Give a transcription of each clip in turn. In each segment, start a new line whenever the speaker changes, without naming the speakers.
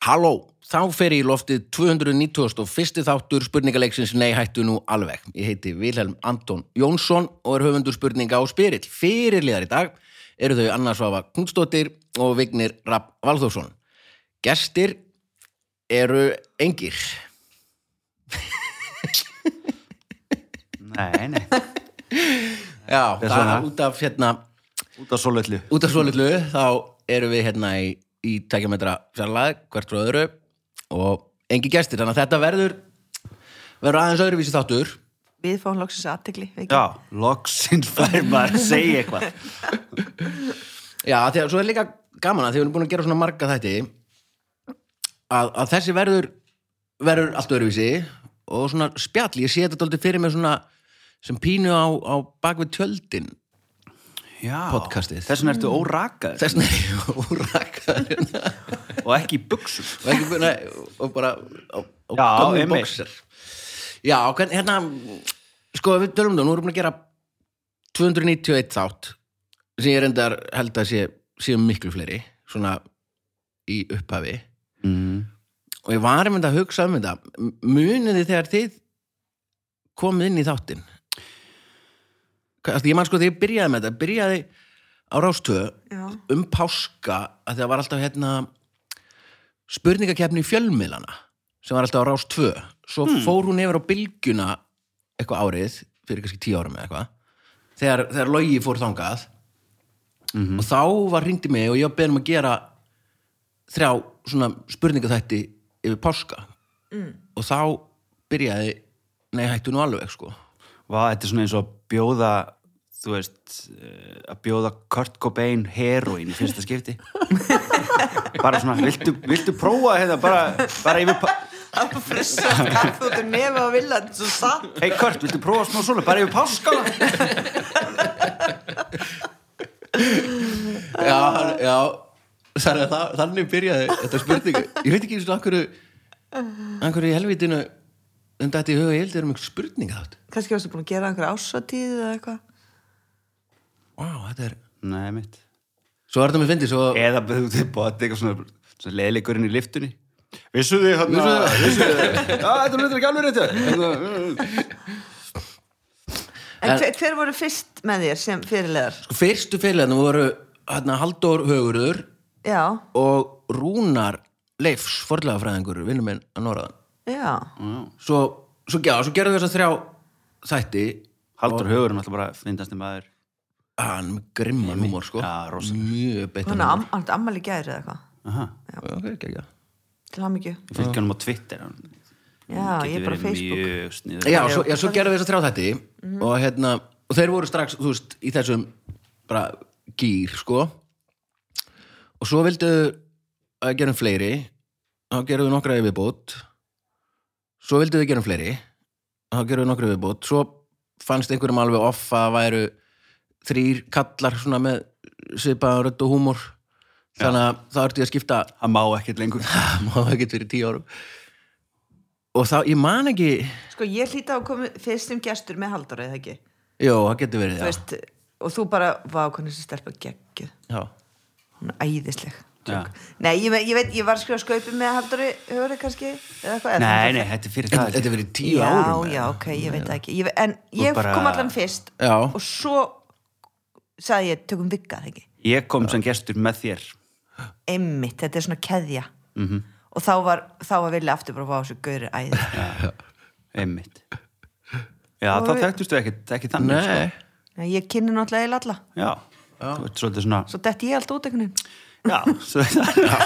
Halló, þá fer ég í loftið 290. og fyrsti þáttur spurningaleiksins Nei hættu nú alveg. Ég heiti Vilhelm Anton Jónsson og er höfundur spurninga á spyrill. Fyrirliðar í dag eru þau Anna Svafa Knudsdóttir og Vignir Rapp Valþórsson. Gestir eru engir.
Nei, nei,
Já,
Er
það
svona.
er út af hérna,
út af svolítlu
út af svolitlu, þá eru við hérna í, í tækjametra fjarlæð, hvert frá öðru og engi gestir, þannig að þetta verður verður aðeins öðruvísi þáttur
Við fáum loksins aðtegli.
Já, loksins fær maður að segja eitthvað
Já, því að svo er líka gaman að því við erum búin að gera svona marga þætti að, að þessi verður verður allt öðruvísi og svona spjall, ég sé þetta aldrei fyrir mig svona sem pínu á, á bakvið tjöldin
Já,
Podcastið.
Þess vegna ertu órakaður
þess vegna úrakaður
og ekki í buksum
og, ekki, búin að- og bara á, á
Já,
gömlum
einmitt.
boxer. Já, hvern, hérna sko við tölum það, nú erum við búin að gera 291 þátt sem ég reyndar held að sé, sé miklu fleiri, svona í upphafi
mm.
og ég var einmitt að hugsa um þetta M- munið þið þegar þið komið inn í þáttinn Hvað- Því ég man sko þegar ég byrjaði með þetta byrjaði á rástöðu
Já.
um páska að það var alltaf hérna spurningakefni í fjölmiðlana sem var alltaf á rás 2 svo fór hún yfir á bylgjuna eitthvað árið, fyrir kannski tíu árum eða eitthvað þegar, þegar logi fór þangað og þá var hringdi mig og ég var beðin um að gera þrjá svona spurningaþætti yfir páska og þá byrjaði nei hættu nú alveg sko
Vá, þetta er svona eins og að bjóða þú veist, eh, að bjóða Kurt Cobain heroin í fyrsta skipti bara svona, viltu, viltu prófa hérna, bara, bara yfir pa-
Það var frissa skatt út um nefa og vilja þetta er svo satt.
Hei Kurt, viltu prófa smá svolítið, bara yfir páskana
já, já þannig, að það, þannig byrjaði þetta spurningu ég veit ekki svona af hverju af hverju í helvitinu um þetta í huga ég held er um einhver spurning þátt
Kannski varstu búin að gera einhverja ásatíð eða eitthvað.
wow, þetta er
Nei, mitt
svo var þetta mér fyndið svo sko,
eða þú tilbúið eitthvað svona, svona leðleikurinn í liftunni Vissu þið hann
Vissuð þið?
Vissu þið Já, þetta er ekki alveg rétt hérna. Eh.
En hver, hver voru fyrst með þér sem fyrirlegar?
sko, fyrstu félagarnir voru hérna, Halldór Högurður
Já,
og Rúnar Leifs forlegafræðingur, vinnum minn að Norðan
já.
svo, svo, já, svo gerðu þess að þrjá þætti
Haldur Hugurinn alltaf bara finnast um aður
hann með grimman húmor sko
Já, rosa.
mjög beittan
Hún er Hérna, am, hann átti ammali gæri eða eitthvað.
húmor. ok, ekki, ekki
Til hann mikið.
Ég fylgja hann á Twitter hann
Já, ég er bara á Facebook.
mjög sniður
já, svo, já, svo gerðum við þess að þrjá þætti
Mhm.
og, hérna, og þeir voru strax, þú veist, í þessum bara gýr, sko og svo vildu að gerum fleiri þá gerum við nokkra yfirbót svo vildu við gerum fleiri þá gerum við nokkra yfirbót svo fannst einhverjum alveg off að væru þrýr kallar svona með svipaðan rödd og húmor þannig að það ertu ég að skipta
Hann má ekkert lengur
má það ekki fyrir tíu árum og þá, ég man ekki
Sko, ég hlýta á að koma fyrst sem gestur með Halldóra eða ekki.
Jó, það getur verið,
Þú
já.
veist, og þú bara, vá, hvernig þessi stelpa geggjuð.
já.
Hún er æðisleg.
Já.
Nei, ég, me- ég veit, ég var að skrifa skaupi með Halldóri Hörur kannski, eða eitthvað. eða það-
Nei, nei, þetta er fyrir
Þetta
það
þetta er verið tíu
já,
árum. eða?
Já, ok, ég veit það ekki ég, ve- En ég
bara-
kom allan fyrst
Já.
og svo sagði ég tökum vikka þegar
Ég kom sem gestur með þér
einmitt, þetta er svona keðja -hmm. og þá var, þá var vilja aftur bara að fá þessu gaurir æði
Einmitt Já, þá
við-
þekktustu ekkert, ekki þannig
Nei.
Ég kynni náttúrulega eða alla
sko. Já, þú ert svolítið svona
svo detti ég allt út einhvern veginn
Já, svo þetta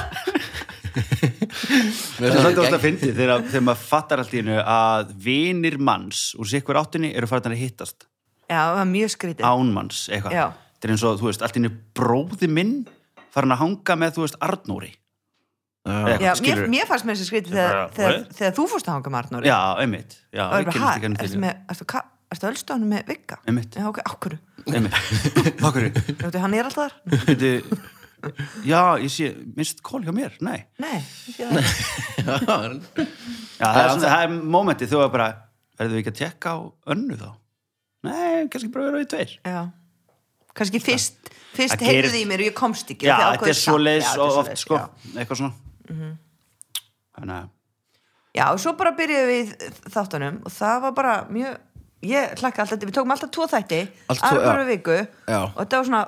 Mér
Það er
finnst
svolítið oft
þetta
að fyndi þegar, þegar maður fattar allt í hennu að vinir manns úr sikkur áttinni eru farin að hittast
Já, það var mjög skrítið
án manns eitthvað
Já.
Þetta er eins og, þú veist, allt í hennu bróði minn farin að hanga með, þú veist, Arnóri
Já.
Já, mér,
skilurðu.
mér fannst mér þessi skrítið þegar,
bara,
þegar,
what?
þegar þú fórst að hanga með Arnóri
Já, einmitt Já,
og
við
er bara,
kynnumst ekki hann
hæ, ertu
til
með ertu, ka- ertu ölstónu með vikka?
Einmitt.
Já, ok, ákvörðu
Einmitt Okkur
Hann er alltaf þar?
Já, ég sé, minnst kól hjá mér, nei
Nei, ég sé það ekki.
ekki.
Já, það er, svona, það er mómentið, þú er bara Verðum við ekki að tekka á önnu þá? Nei, kannski bara vera við tveir
Já, kannski fyrst, fyrst
Það
heyrðu
gerist-
því mér og ég komst ekki
Já,
þið ákváðuð
þetta er
samt.
svo
Já,
sko.
Mhm.
leiðis og oft sko, eitthvað svona
þetta er svoleiðis, já.
þannig að
Já, og svo bara byrjuðum við þáttunum og það var bara mjög, ég hlakka alltaf, til- við tókum alltaf tvo þætti,
Allt tvo,
aðra bara
já.
viku
Já.
og þetta var svona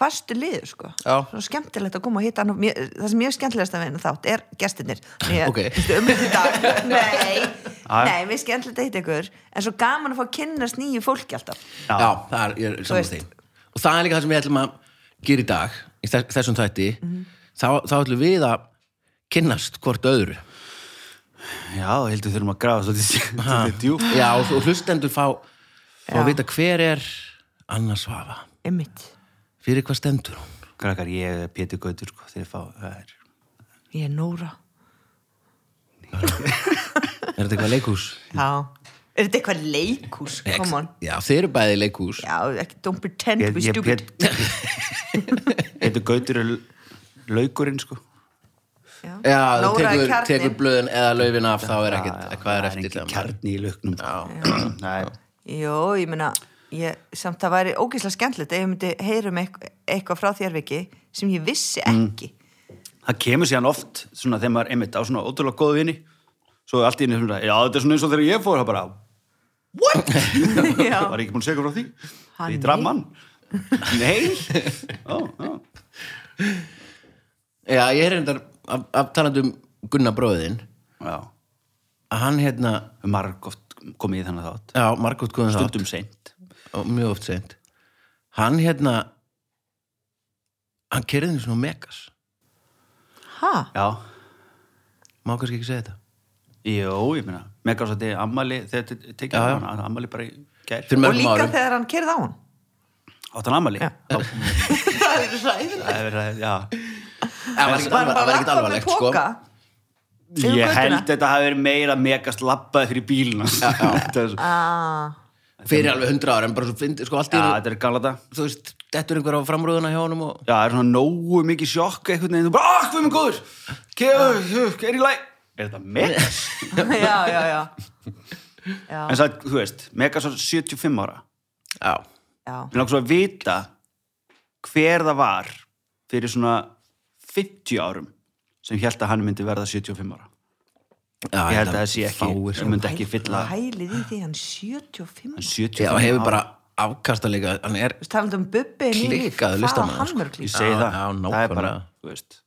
fastu liður, sko.
Já.
Svona skemmtilegt að koma og hitta hann, og mér- það sem mjög skemmtilegast að vinna þátt er gestinir. Ég,
Ok.
Vistu, um þetta í dag, nei,
Já.
nei, mér er skemmtilegt að hitta ykkur, en svo gaman að fá að kynnast nýju fólki alltaf.
já. það er, ég er saman
veist.
því og það er líka það sem við ætlum að gera í dag í þess- þessum þætti
Mhm.
þá, þá ætlum við að kynnast hvort öðru
já, ég heldur þurfum að grafa svolítið svolítið djúpt
já, og, og hlustendur fá, fá
Já.
að vita hver er Anna Svafa
Einmitt.
fyrir hvað stendur hún
krakkar, ég er Pétur Gautur sko, þeir fá, það er
Ég er Nóra.
er þetta eitthvað leikús?
Já. Er þetta eitthvað leikús? Come on.
já, þeir eru bæði leikús
Já, ekki, don't pretend to
ég,
be
ég,
stupid.
Pét- Pétur Gautur er laukurinn sko
Já.
já, þú
Nóra er
tekur,
kjarninn.
tekur blöðin eða laufin af þá er ekkert, hvað er eftir
Ah, engin
þeim?
kjarni í lauknum sko. það er
Jó, ég meina ég, samt það væri ógeðslega skemmtilegt ef ég myndi heyrum eitthvað frá þér viki sem ég vissi
Mm.
ekki
það kemur síðan oft svona þegar maður einmitt á svona ótrúlega góðu vini svo er allt í einu svona, já þetta er svona eins og þegar ég fór það bara,
Já,
var ég ekki búin að segja frá því
Hann
því ég draf
nei.
mann nei, ó, ó.
já, ég er reyndar af, af talandi um Gunnar bróðin
já
að hann hérna,
marg oft komið í þannig þátt
já, Margot Guðan
stundum seint
og mjög oft seint hann hérna hann kerði henni svona megas
ha,
já,
má kannski ekki segja þetta
jú, ég meina með gafs að þetta er ammali þegar þetta er tekið
Já, já.
af hana, ammali bara í gær
fyrir
og
mörgum
líka
árum
þegar hann kerði á hún
áttan ammali
Já.
Þá-
Það er ræðilegt
það er verið að- já.
það var ekkert alvar- það var ekkert alvarlegt sko
Yfir
ég
götuna?
held þetta hafi verið meira megast labbaði fyrir bílina þetta er svo-
ah,
fyrir alveg hundra ára en bara svo fyndi sko allt í
já,
einu,
þetta er galda þetta
þú veist, þetta er einhver á framrúðuna hjá honum og
Já, það er svona nógu mikið sjokk einhvern veginn, þú bara, ah, hvað er mér góður
Ah.
kefur, er í læ er þetta Megas?
Já, já, já Já,
en það, þú veist, Megas var 75 ára
já,
já,
við langar svo að vita hver það var fyrir svona 50 árum sem held að hann myndi verða 75 ára
já
ég held að það sé ekki, um
fáir
það myndi ekki fylla
Hælið í því hann 75
en
já,
75
hefur
ára
bara afkastalega hann er
Talandi um bubbi í líf,
Klikkaður
það
listamaður,
hann
sko.
verður
ég
klikkað.
segi
Já,
það,
já,
það er bara
nákvæmlega.
þú veist,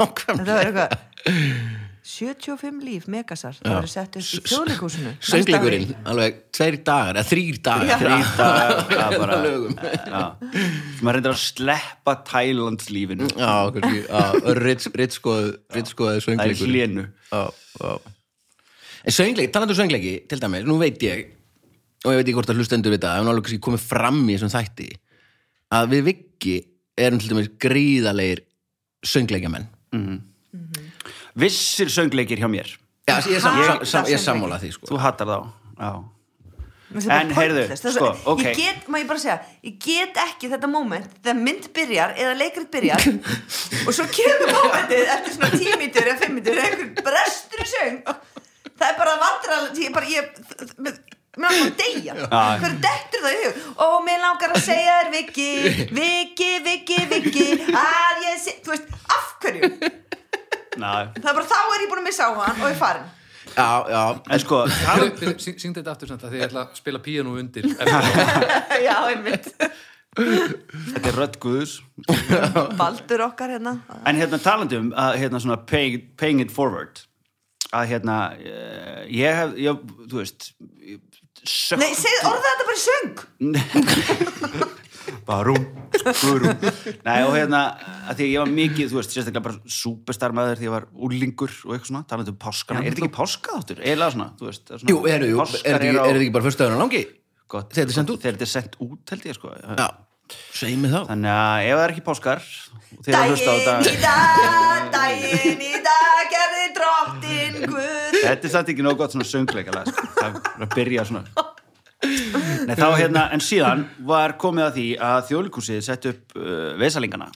Þetta var eitthvað 75 líf, megasar Það verður sett upp í þjóðleikúsinu
söngleikurinn, alveg tveir dagar eða þrýr dagar
þrýr dagar, það er bara
lögum
já, maður reyndir að sleppa Tælandslífinu
já, kannski, já, ritskoðu ritskoðu ritskoð,
það er
söngleikurinn
hlénu
já, já. En söngleiki, talandu um söngleiki til dæmis, nú veit ég og ég veit ekki hvort að hlustendur við það ef hún alveg kannski komið fram í þessum þætti að við Viggi erum til dæmis gríðalegir söngleikjamenn
vissir söngleikir hjá mér
Já, ég er, sam,
Hata
sam, sam, ég er
söngleiki.
sammála því sko.
þú hattar þá já.
Mér finnst þetta
En
bara
heyrðu,
pointless. Það er
sko,
svo-
ok.
Ég get, má ég bara segja, ég get ekki þetta moment þegar mynd byrjar eða leikrit byrjar og svo kemur momentið eftir svona tímítur eða fimmítur eða einhver brestur í söng það er bara vandrarlega ég er bara, ég mér mér langar að deyja, hver dettur það í hug og mér langar að segja þér Viki Viki, Viki, Viki að ég sé, þú veist, af hverju það
Ná,
er bara þá er ég búin að missa á hann og ég farin
Já, já,
en sko talan-
Syngd þetta aftur samt að því ég ætla að spila píanu undir eftir.
já, einmitt,
þetta er rödd guðus
baldur okkar hérna
en hérna talandi um að hérna svona paying, paying it forward að hérna eh, ég hef, ég, þú veist ég- sök,
Nei, segð orða þetta bara í söng
barum, guðrum nei og hérna, að því að ég var mikið þú veist, sérstaklega bara superstarmaður því ég var úlingur og eitthvað svona, talandi um páskana er þetta ekki páska þáttur, eiginlega svona, þú veist það er svona,
jú, eru, jú, er
páskar
þetta ekki,
eru á-
er ekki bara fyrstu öðrun langi?
gott,
Þegar þetta er sent út?
þegar þetta er sendt út held ég sko
Já, segjum við þá
þannig að ef það er ekki páskar og þið eru að hlusta á
Dæin í
þetta
dag, dæin í dag gerði drottin Guð
þetta er samt ekki nóg gott svona söngleikala sko. það er að byrja svona Nei, þá, hérna, en síðan var komið að því að þjóðlikúsið sett upp uh, vesalingana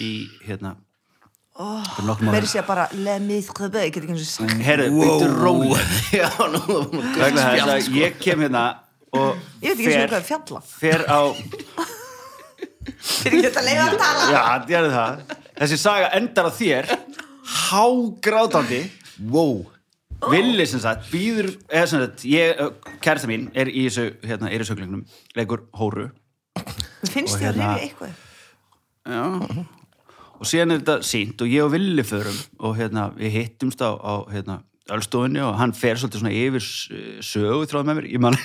í hérna oh, nokkum
Mér
ára
sé bara, le miðkvöðu Ég get ekki eins og sagt
herru, byttu róli
Já, nú, nú,
vegna þess að ég kem hérna og
sko. Ég veit ekki eins og hvað er fjalla
fer á
Fyrir ekki þetta leiða að tala
já, gerðu það þessi saga endar á þér hágrátandi
wow
Villi sem sagt býður eða sem sagt, ég, kærasta mín er í þessu, hérna, er í söglingnum leikur hóru
finnst
Og
þér
hérna-
hérna... eitthvað
Já. og síðan er þetta sínt og ég og Villi förum og hérna, við hittumst á, á hérna, Ölstofunni og hann fer svolítið svona yfir s- sögu þráð með mér ég man,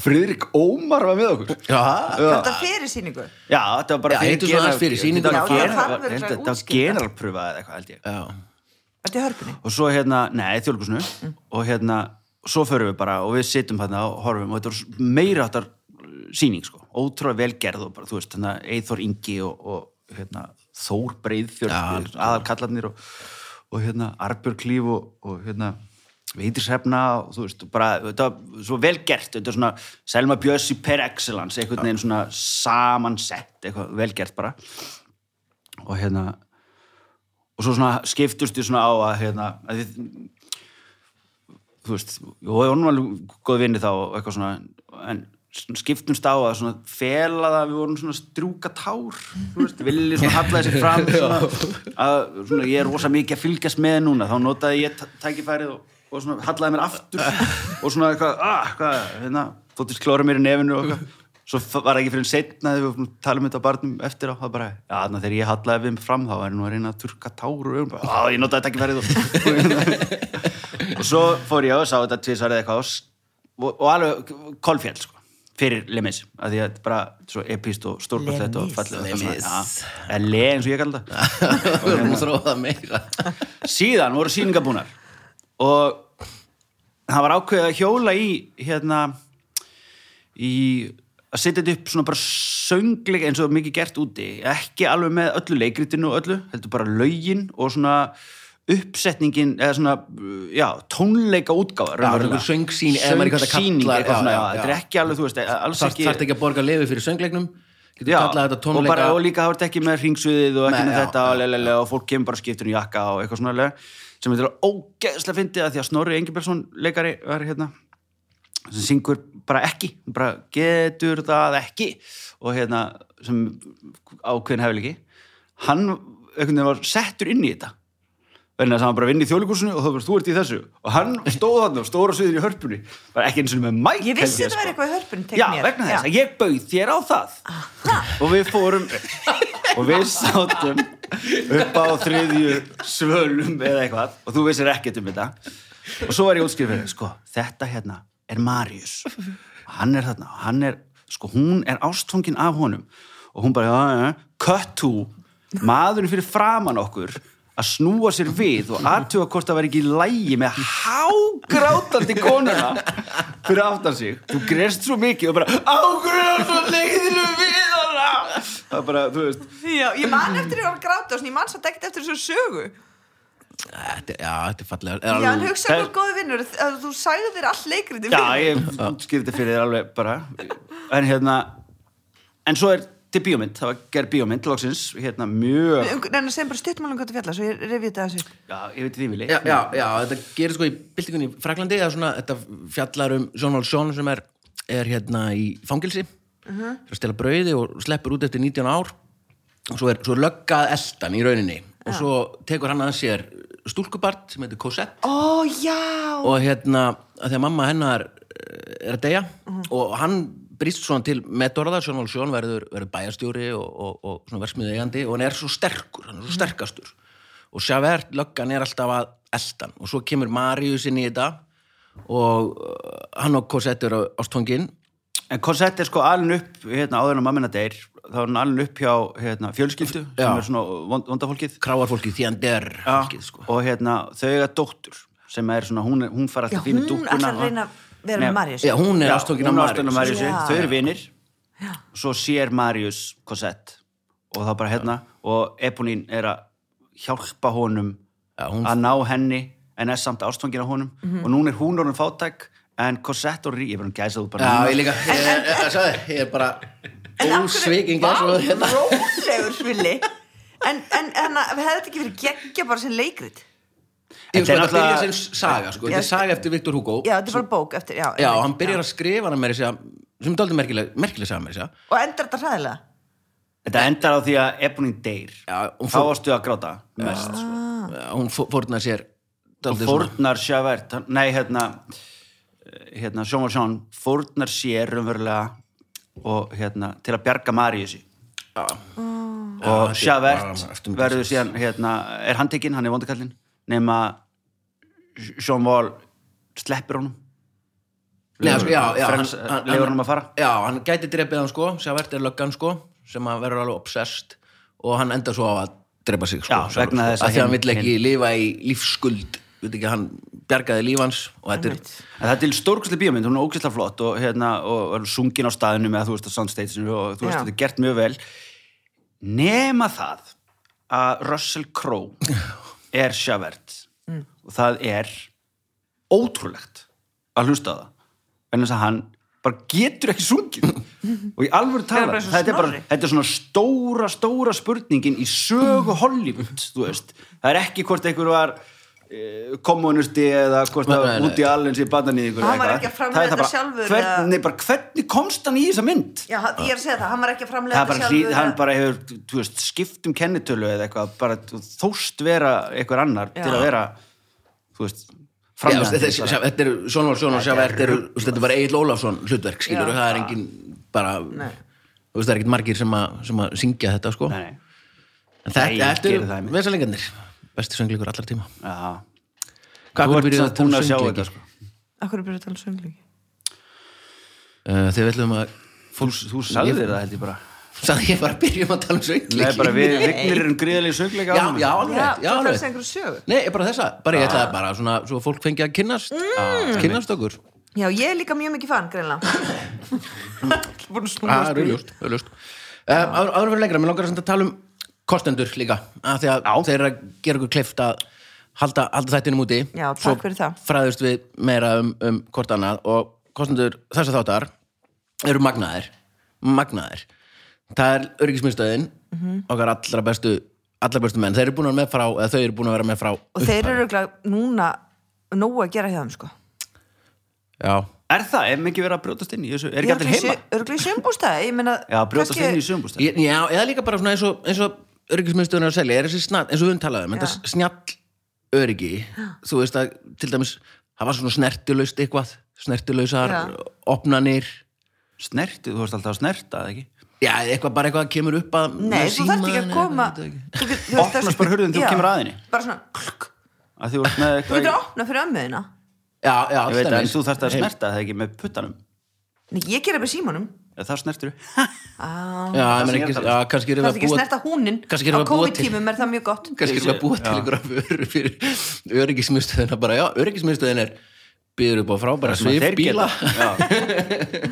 Friðrik Ómar var með okkur
Já,
þetta fyrir sýningu
Já, þetta var bara
Já, hittum svona aðeins fyrir sýningu.
Þetta var
Já,
genar-
það þarf örugglega
þetta
að
var
útskýra.
generalpröfa eða eitthvað held ég
já.
þetta er hörpunni
og svo hérna, nei, þjólkusinu og hérna, svo förum við bara og við sittum hérna og horfum og þetta var meira áttar sýning, sko, ótrúlega vel gerð og bara, þú veist, hérna, Eithor Ingi og, og hérna, Þór Breiðfjörð aðal kallarnir og, og hérna, Arbjörg Klíf og, og hérna, Veitisrefna og þú veist, og bara, þetta var svo vel gert þetta er svona Selma Bjössi per excellence einhvern veginn svona samansett eitthvað vel gert bara og hérna og svo svona skiptust ég svona á að hérna, að þið þú veist, og ég vorum alveg góð vinni þá og eitthvað svona en svona skiptumst á að svona fela það að við vorum svona að strjúka tár þú veist, villi svona hallaði sér fram svona, að svona ég er rosa mikið að fylgjast með núna, þá notaði ég tæ- tækifærið og, og svona hallaði mér aftur og svona eitthvað, ah, hvað, hérna þóttist klóra mér í nefinu og eitthvað svo f- var ekki fyrir setna þegar við vorum að tala um þetta á barnum eftir á, það bara, já, þannig að þegar ég hallaði við mig fram þá er nú að reyna að turka tár og ögum, bara, á, ég notaði tækifærið og, og svo fór ég á og sá þetta tvisarið eitthvað og, s- og, og alveg kolfjall, sko, fyrir Lemis, að því að þetta er bara svo epíst og stórkvæmt og
Lemis.
fallið og
Lemis.
ja, le eins og ég kallar þetta
við erum að þróa það meira
síðan voru sýningabúnar og það var ákveðið að hjóla í hérna í að setja þetta upp svona bara söngleik eins og mikið gert úti ekki alveg með öllu leikritinu og öllu heldur bara lögin og svona uppsetningin eða svona, já, tónleika útgáfa
einhver söngsýn- eða maður hvað það kallar, já,
eitthvað svona, já,
já, já.
þetta er ekki alveg, þú veist, alls
þarf
ekki
þarft ekki að borga lefi fyrir söngleiknum getur kallað þetta
og,
tónleika
bara, og líka það vart ekki með hringsuðið og ekki
Nei,
með
já,
þetta
já,
og, lelele, og fólk kemur bara skiptur í jakka og eitthvað svona lega, sem þetta er ógeðslega fyndið að því að Snorri Engilbertsson leikari var hérna sem syngur bara ekki bara getur það ekki og hérna sem ákveðin hefur hann einhvern veginn var settur inn í þetta vegna þess að hann bara vinn í þjóðlíkursinu og þá verður þú ert í þessu og hann stóð þarna og stóra sviðin í hörpunni bara ekki eins og með mæk
ég vissi
held
þetta var
sko.
eitthvað í hörpunni
Já, vegna þess að ég bauð þér á það og við fórum og við sátum upp á þriðju svölum eða eitthvað og þú vissir ekkert um þetta og svo var ég útskrifin sko, þetta hérna er Marius hann er þarna, og hann er sko, hún er ástfangin af honum og hún bara, já, já, já, cut to maðurinn fyrir framan okkur að snúa sér við og aðtuga hvort það var ekki í lægi með hágrátandi konuna fyrir aftan sig. Þú grest svo mikið og bara ágrátandi leiðinu við hana. Það er bara, þú veist,
Já, ég man eftir því að ég var að gráta og svona, ég man satt ekkert eftir þessu sögu
Þetta- já, þetta er fallega
Já, en hugsa
Það-
hvað góði vinnur að þú sagði þér all leikriti
Já, ég skýrði þetta fyrir þér alveg bara En hérna En svo er til bíómynd, það var gerð bíómynd loksins, hérna mjög
Nei, sem bara stuttmálum hvað þú fjalla svo ég revið þetta þessu
Já, ég veit því vilji
já, já, já, þetta gerir sko í byltingunni í Fraklandi eða svona, þetta fjallar um Jean Valjean sem er, er hérna í fangilsi uh að stela brauði og sleppur út eftir 19 ár og svo er, svo er löggað eldan í rauninni og svo tekur hann að sér stúlkubart sem heitir Cosette
Ó, já
og hérna, að því að mamma hennar eh, er að deyja og hann brýst svona til metorða, Sjón Valsjón verður, verður bæjarstjóri og, og, og svona versmiðu eigandi og hann er svo sterkur, hann er svo sterkastur og Sjavert, löggan er alltaf að eldan og svo kemur Marius inn í þetta og eh, hann og Cosette eru á ástfangin
En Cosette er sko alin upp, hérna áður en að mammina deyr þá er hann alin upp hjá hérna, fjölskyldu
Já.
sem er svona vond, vondafólkið
kráarfólki því hann der fólkið, sko.
og hérna þau er dóttur sem er svona, hún, er- hún fara
Já,
alltaf fínu
hún
dúkkuna
ætlar að
og-
reyna að vera með
Nei,
Marius
hérna. Já, hún er
Já,
ástfangin
hún
af
er
Marius.
ástfangin af Mariusi,
Já.
þau eru vinir svo sér Marius Cosette og það bara hérna og Eponín er að hjálpa honum
Já, hún-
að ná henni en er samt ástfangin af honum og núna er hún orðin fátæk en Cosette og Rí, ég verðum gæsað út bara
Já,
núna.
ég líka, ég, ég, ég, sagði, ég er bara ósviking
Vá,
eins og hérna
rólegur svili En, en, en að- hefði þetta ekki verið geggja bara sem leikrit
Ég, sko,
Þetta er
þetta byrja sem
náttúrulega-
saga, sko. Þetta er
Já,
saga eftir Viktor Hugo.
Já, þetta er bara bók eftir, já,
Já,
einmitt,
hann byrjar að skrifa hana meiri segja, sem er dálítið merkileg, merkileg saga meiri segja.
Og endar þetta hræðilega
þetta endar á því að Eponín deyr
Já, hún
þá
fór-
varstu að gráta mest, sko.
hún fó- fórnar sér dálítið svona-
fórnar Javert hann- nei hérna hérna Sjón var Sjón fórnar sér umverulega og hérna til að bjarga Mariusi og
Já, þetta er
Javert
bara- um eftir-
verður síðan hérna er handtekinn, hann er vondakallinn nema Sjón Val sleppir honum
Nei, sko, já, já,
Frels- leyfir honum að fara.
já, hann gæti drepið hann sko Sjávert er löggan sko sem að verður alveg obsessed og hann enda svo á að drepa sig sko,
Já,
sjálfur,
vegna
sko.
þess að
að því
hinn-
hann vill ekki lifa í lífsskuld veit ekki, hann bjargaði lífans og þetta er
En það er til stórkustli bíómynd, hún er ógæslega flott og hérna, og er sungin á staðinu með þú veist að soundstageinu og þú veist
Já.
þetta er gert mjög vel nema það að Russell Crowe er Javert
Mm.
og það er ótrúlegt að hlusta á það en þess að hann bara getur ekki sungið og í alvöru
Það er
tala
bara svo
þetta er, bara,
Snorri.
þetta er svona stóra, stóra spurningin í sögu Hollywood þú veist, það er ekki hvort einhver var eh, kommunisti eða hvort
Nei,
það var
nei,
út í allins í bandanýðingur
Hann var ekki að framleiða þetta sjálfur, eða?
hvernig, bara, hvernig komst hann í þessa mynd
Já, hann- ég er að segja það, hann var ekki að
það
framlega
er bara, hlý, hann bara hefur þú veist, skipt um kennitölu eða eitthvað bara þóst vera einhver annar
Já.
til að vera þú veist,
Já, þú veist,
framleiðandi
þetta er-
bara.
sjá- þetta er Sjónvar Sjónvar Sjávert er þú veist, þetta er bara Egil Ólafsson hlutverk skilur
Já.
það er engin bara
Nei.
þú veist það er ekkert margir sem að, sem að syngja þetta sko
Nei, nei.
en
Nei,
þetta þetta
gerðu það
er
einmitt.
vesalingarnir bestu söngleikur allar tíma
Já.
Hvað
Þú
er
ert
byrjuð
samt
að
búin
tala
að sjá
söngleiki?
þetta sko.
Akkur er byrjað að tala um söngleiki
Uh, Þegar við ætlum að
Fólks, þú sagðir það held ég bara
sagði ég bara að byrjum að tala um söngleiki
Nei, bara við vignir erum gríðalegi söngleika
Já, já, alveg, rétt, já,
Já, þú ætlar að
alveg
segja einhverju sögu
Nei, bara þessa, bara ég
Ah.
ætlaði bara svona, svo fólk fengi að kynnast
Mm.
kynnast okkur
Já, ég er líka mjög mikið fann, greinlega Búin að snúa
Það er auðljóst, auðljóst Um, áður áður en fyrir lengra, mér langar samt að tala um kostendur líka, að því að
Já.
þeir eru að gera okkur kleift að halda, halda þættinum úti
Já, takk
Svo
fyrir það.
fræðust við meira um, um hvort annað og kostendur þessa þáttar eru magnaðir magnaðir það er öryggismiðstöðin
Mhm.
okkar allra bestu, allra bestu menn þeir eru búin að vera með frá, eða þau eru búin að vera með frá
Og þeir eru örugglega núna nógu að gera hjá þeim, sko
Já,
Er það, er mikið verið að brjótast inn í þessu Er ekki allir heima?
Örglega í sömbústæði, ég meina
Já, brjótast
kannski-
inn í sömbústæð
Ég- Já, eða líka bara svona eins og, eins og öryggismiðstöðun er að selja, er þessi snart, eins og hún talaði um,
Já.
þetta snjall öryggi, þú veist að til dæmis, það var svona snertulaust eitthvað, snertulausar,
Já.
opnanir,
Snerti, þú veist alltaf að snerta, eða ekki?
já, eitthvað bara eitthvað kemur upp að
Nei,
með
þú þarft ekki að
símann eða
koma
ég veit ekki.
Þú get- þú veist,
Opnast
þessi-
bara hurðin þegar þú
Já,
kemur að henni.
Bara svona klukk.
Að þú veist með
Þú
eitthvað
getur að opna fyrir ömmuðina
Já, já,
Ég veit
til
að en
dæmis.
þú þarft að snerta það ekki með puttanum
Nei, ég gera bara símanum
Eða það snertir þú
ah,
Já,
sem
menn
ég er
ekki,
að
já,
tala
kannski
Það
erum
er
við
ekki að
að
snerta
búa
húnin
Kannski erum við
Á
að búa til-
COVID-tímum er það mjög gott
kannski erum við að búa til einhverja vörur fyrir öryggismiðstöðuna bara, já, öryggismiðstöðin er býður upp á frábæra svif bíla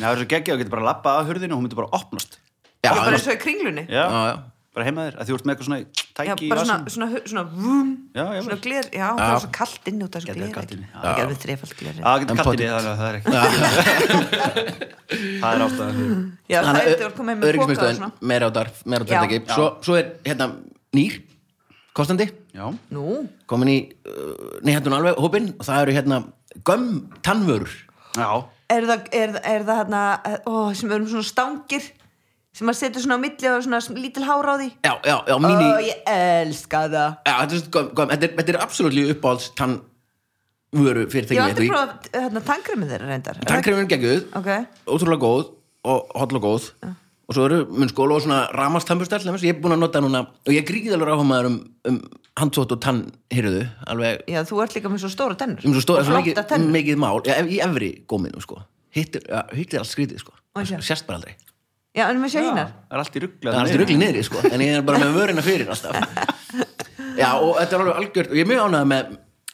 Það er svo geggjað að geta bara að labba að hurðinu og hún myndi bara að opnast
Já,
Það er bara
já,
eins og í kringlunni
Já,
já.
bara heima þér, að þú ert með eitthvað svona í-
Já,
tæki í
bara svona,
vasanum.
svona, svona, vum,
Já, já,
svona
vel.
gler, já, það er svo kalt inn út af þessu
Getur
gleri.
kalt inni, já.
Það gerði þrefald gleri.
Já, það
En
getur kattið
pottit.
við þannig að það er ekki Það er ástæðan fyrir
Já, það er þetta að koma með póka og
öryggismiðstöðin
svona.
meira á þar, meira á
Já.
þar ekki svo, svo er hérna nýr kostandi,
Já,
Nú,
komin í uh, neyhendun alveg hópinn og það eru hérna göm tannvörur
já,
er það, er, það- er það hérna, ó, sem erum svona stangir, sem maður setur svona á milli og svona sm- lítil hár á því.
já, já, já,
Ó,
mini
ég elska það.
já, þetta, er, svona göm, göm, þetta, er, þetta er absolutt uppáhalds tannvöru
Ég hef
fyrirtæki
aldrei prófað hérna tangremið þeirra reyndar. Er það-
tannkremin gegguð,
Ok,
ótrúlega góð og holl og góð og svo eru munnskóla og svona ramastambustall ég er búin að nota núna og ég gríkið alveg ráfamaður um, um handtótt og tannhyrðu alveg
já, þú ert líka með svo stóra tennur.
um svo stóð,
Og
svo
flottar
mikið,
tennur.
mikið mál ja, í efri góminu sko hittir, ja, hittir allt skrítið sko
Og hér.
sérst bara aldrei
Já, en við sjá
Já,
hinnar.
það er allt í ruggla
það er alltaf ruggli niðri sko en ég er bara með vörina fyrir alltaf já og þetta er alveg algjört og ég er mjög ánægð með,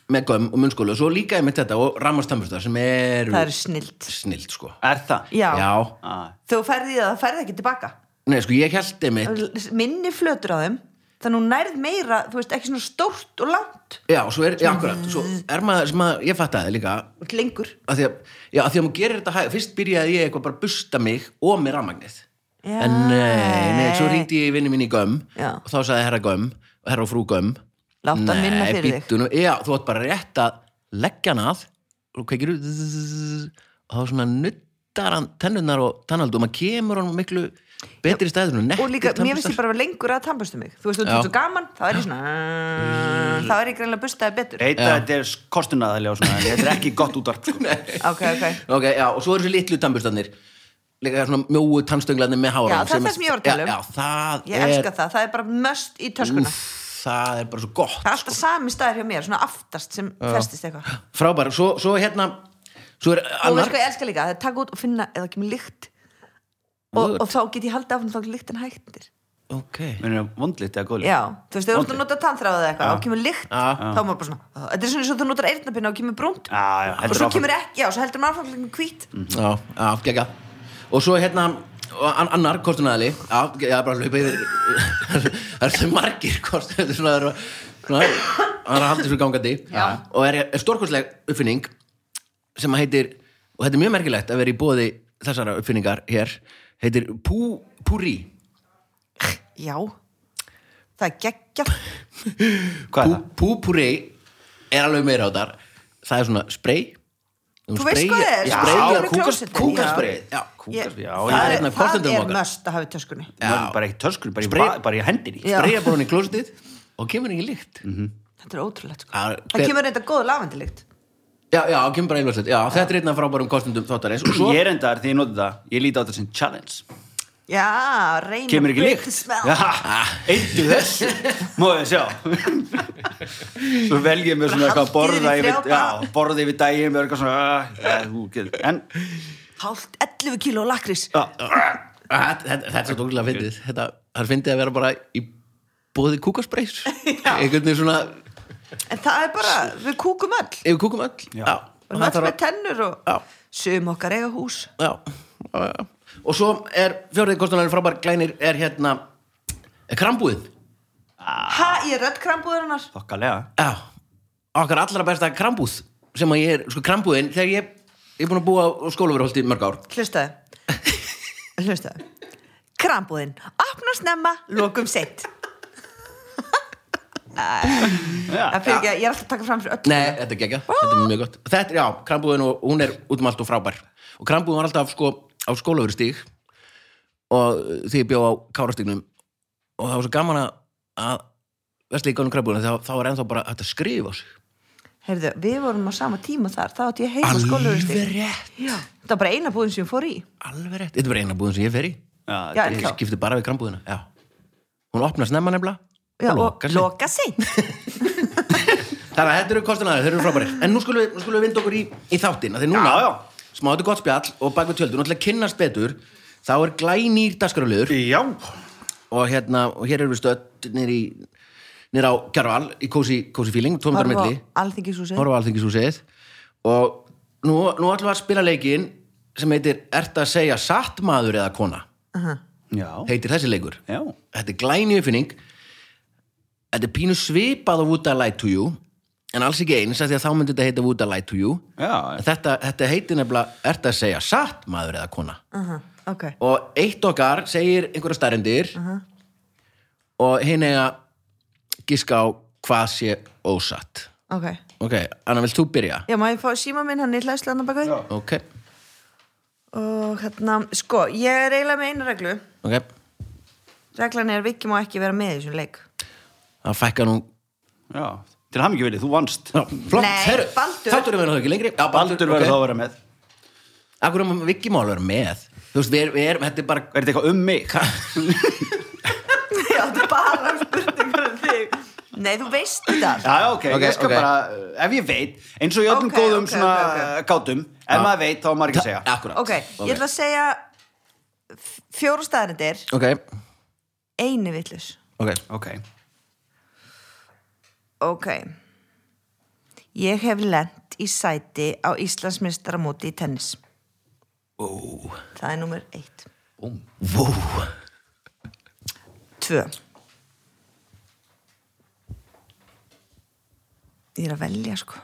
með göm og munnskólu og svo líka ég með þetta og rammastambustar sem er
Það er snilt.
snilt sko
Er það?
Já,
já.
Ah,
þú ferði það, það ferði ekki tilbaka.
Nei, sko ég held einmitt
minni flötur á þeim þannig hún nærð meira, þú veist, ekki svona stórt og langt
já, svo er, já, akkurat, svo er maður sem að ég fattaði líka
og lengur
að því að, já, að því að maður gerir þetta hæg fyrst byrjaði ég eitthvað bara að busta mig og með rammagnið
Já.
en nei, nei, svo ringdi ég vinni mín í göm
Já.
og þá sagði herra göm og herra og frú göm
Láttu hann vinna fyrir þig.
bíddu nú, já, þú átt bara rétt að leggja hann að og kveikir út og þá svona nuttar hann tennurnar og tannaldum og maður kemur hann miklu betri stæður en
og líka,
nettir
mér finnst ég bara að vera lengur að tannbustu mig þú veist, þú
Já.
veist svo gaman, þá er ég svona "Ah", þá er ég greinlega bustaði betur
Reyta þetta er kostunnaðalega og svona, en þetta er ekki gott útvarp sko.
Eh.
ok, ok,
Ok, já, og svo eru þessi litlu tannbjörnstannir líka svona mjóu tannstönglarnir með hára
Já, það er það sem ég var að tala um.
Já, já það
ég elska
er,
það það er bara möst í töskuna
úff, það er bara svo gott
það er alltaf sami staður hjá mér, svona aftast sem festist eitthvað
Frábær, svo, svo hérna svo er
og veist
annar
hvað ég elska líka, það er taka út og finna eða kemur lykt og,
Good.
og þá get ég haldið af þá er lyktin hættir
Ok,
Mér er vondlítið að góðlega
já, þú veist, þegar þú ert að nota tannþráð eða eitthvað og kemur lykt,
Já.
þá er maður bara svona "Ó, þetta er svona eins og þú notar eyrnapinna og kemur brúnt
Já, já,
og
heldur
svo
áfram.
kemur ekki, já, svo heldur maður áfram kemur hvít
Mhm. já, já, gegga Og svo hérna og an- annar kostunæðali Já, ég er bara að hlaupa yfir Það eru þau margir kostunæðali svona, það eru- svona, það er að halda þessu gangandi já. og er, er stórkostleg uppfinning sem að heitir og þetta er mjög merkilegt að vera í bóði þessara uppfinningar hér heitir Pú, Púri
já, það er geggjað
Hvað er það?
Púpúri er alveg meira á þar það er svona spray
Þú veist hvað það er,
Já,
spray
já
kemur í
kúkast-
klósettið,
kúkasprayið, já.
Ég-
Já,
já,
það,
já.
er,
Hérna,
það
kostendum
er
okkar.
must að hafa í töskunni
Já.
Maður Bara í töskur, bara í,
Spray-
va- bara í hendinni
Já.
spraya bara hann í klósitið og kemur ekki lykt
Mhm.
þetta er ótrúlegt sko.
Já,
það
hver-
kemur reynda góð lafendilikt
já, já, kemur bara einlöfslega já, þetta er einn af frábærum kostendum þáttarins og svo,
Ég er endar því ég noti það, ég líti á þetta sem challenge
já, reynda
Kemur ekki líkt
já.
Eittu þess Móðu sjá Svo vel ég mér svona
Bara
eitthvað að borða
haldið í
yfir,
þrjá
já,
daga.
borða yfir daginn með eitthvað svona ah, ja, hú, get- En
hálft 11 kíló lakrís
Að- þetta þetta er svo dókilega fyndið þetta það er fyndið að vera bara í bóði kúkasprays
Já.
einhvern veginn svona
en það er bara, við kúkum öll
ef við kúkum öll
Já.
við erum
það
öll
þarf
með tennur og
Já.
sum okkar eiga hús
að já, já, já. og svo er fjórið kostunæri frábær glænir er hérna er krambúðin Ah.
ha, ég er öll krambúðurinnar
Þokkalega
Já, okkar allra besta krambúð sem að ég er, sko krambúðin þegar ég, ég er búin að búa á skólaverholti mörg ár
Hlustaðu Hlustaðu Krambúðin, opna snemma, lokum seint Það fyrir ekki að ég er alltaf að taka fram fyrir öll
Nei, þetta er gegja, þetta er mjög gott Þetta er, já, krambúðin og hún er út um allt og frábær og krambúðin var alltaf sko á skólaverstíg og uh, því ég bjó á kárastígnum og það var svo gaman að, að vesli í gönum krambúðin þá, þá er ennþá bara hægt að skrifa á sig
Heyrðu, við vorum á sama tíma þar Það átti ég heima skólaurustík
Alveg rétt,
Já, þetta var bara eina búðin sem ég fór í
alveg rétt Þetta er bara eina búðin sem ég fer í
Já,
Já,
Ég
ennþá.
skipti bara við krambúðina, já Hún opnar snemma nefnilega
Já,
og
og
lokar sig.
loka seint
Þannig að þetta eru kostunæður, þeir eru frábæri En nú skulum við, nú skulum við vinda okkur í, í þáttin Þegar núna,
Já, já.
smá þetta er gott spjall og bak við tjöldun, náttúrulega kynnast betur þá er glænýr dagskráliður
já.
og hérna, og hér erum við stödd nýr í, nýr á Kjarval í Kósi, Kósi Feeling, tómundar
Horfa á
milli
alþingishúsið
horfa á alþingishúsið og nú, nú ætlum við að spila leikin sem heitir, ert að segja satt maður eða kona,
Já.
heitir þessi leikur
já.
þetta er glæni uppfinning þetta er pínu svipað á Would I Lie to You en alls ekki eins af því að þá myndi þetta heita Would I Lie to You
Já.
þetta, þetta heitir nefnilega, ert að segja satt maður eða kona
Aha, Ok,
og eitt okkar segir einhverja starendir og hinn eiga giska á hvað sé ósatt
ok
ok, Anna, vilt þú byrja?
Já, má ég fá síma minn, hann er hlæslega hann bakað
ok,
Og hérna, sko, ég er eiginlega með einu reglu
ok
Reglan er að Viki má ekki vera með í þessum leik
það fækka nú
já. Til ham ekki þú vannst
Já, flott,
Nei,
heyrðu,
Baldur.
þáttur er verið þá ekki lengri Já,
Baldur verður
ok.
þá að vera með
Akkur um að Viki mál vera með Þú veist, við erum, við erum, þetta er bara
Er þetta eitthvað um mig?
Já, þetta er bara spurningar um þig Nei, þú veist þetta
Já, já, ok,
Ok,
ég skal
ok.
bara, uh, ef ég veit, eins og í öllum
Ok,
góðum
ok,
svona
ok, ok.
okay. gátum, ef maður veit, þá er maður ekki að segja.
Akkurat
Ok, ég ætla að segja f- fjóra staðarindir,
Ok,
einu villus
ok
Ok,
Ok Ég hef lent í sæti á Íslandsmeistaramóti í tennis
Ó,
Það er nummer eitt
vó
Tvö Ég er að velja sko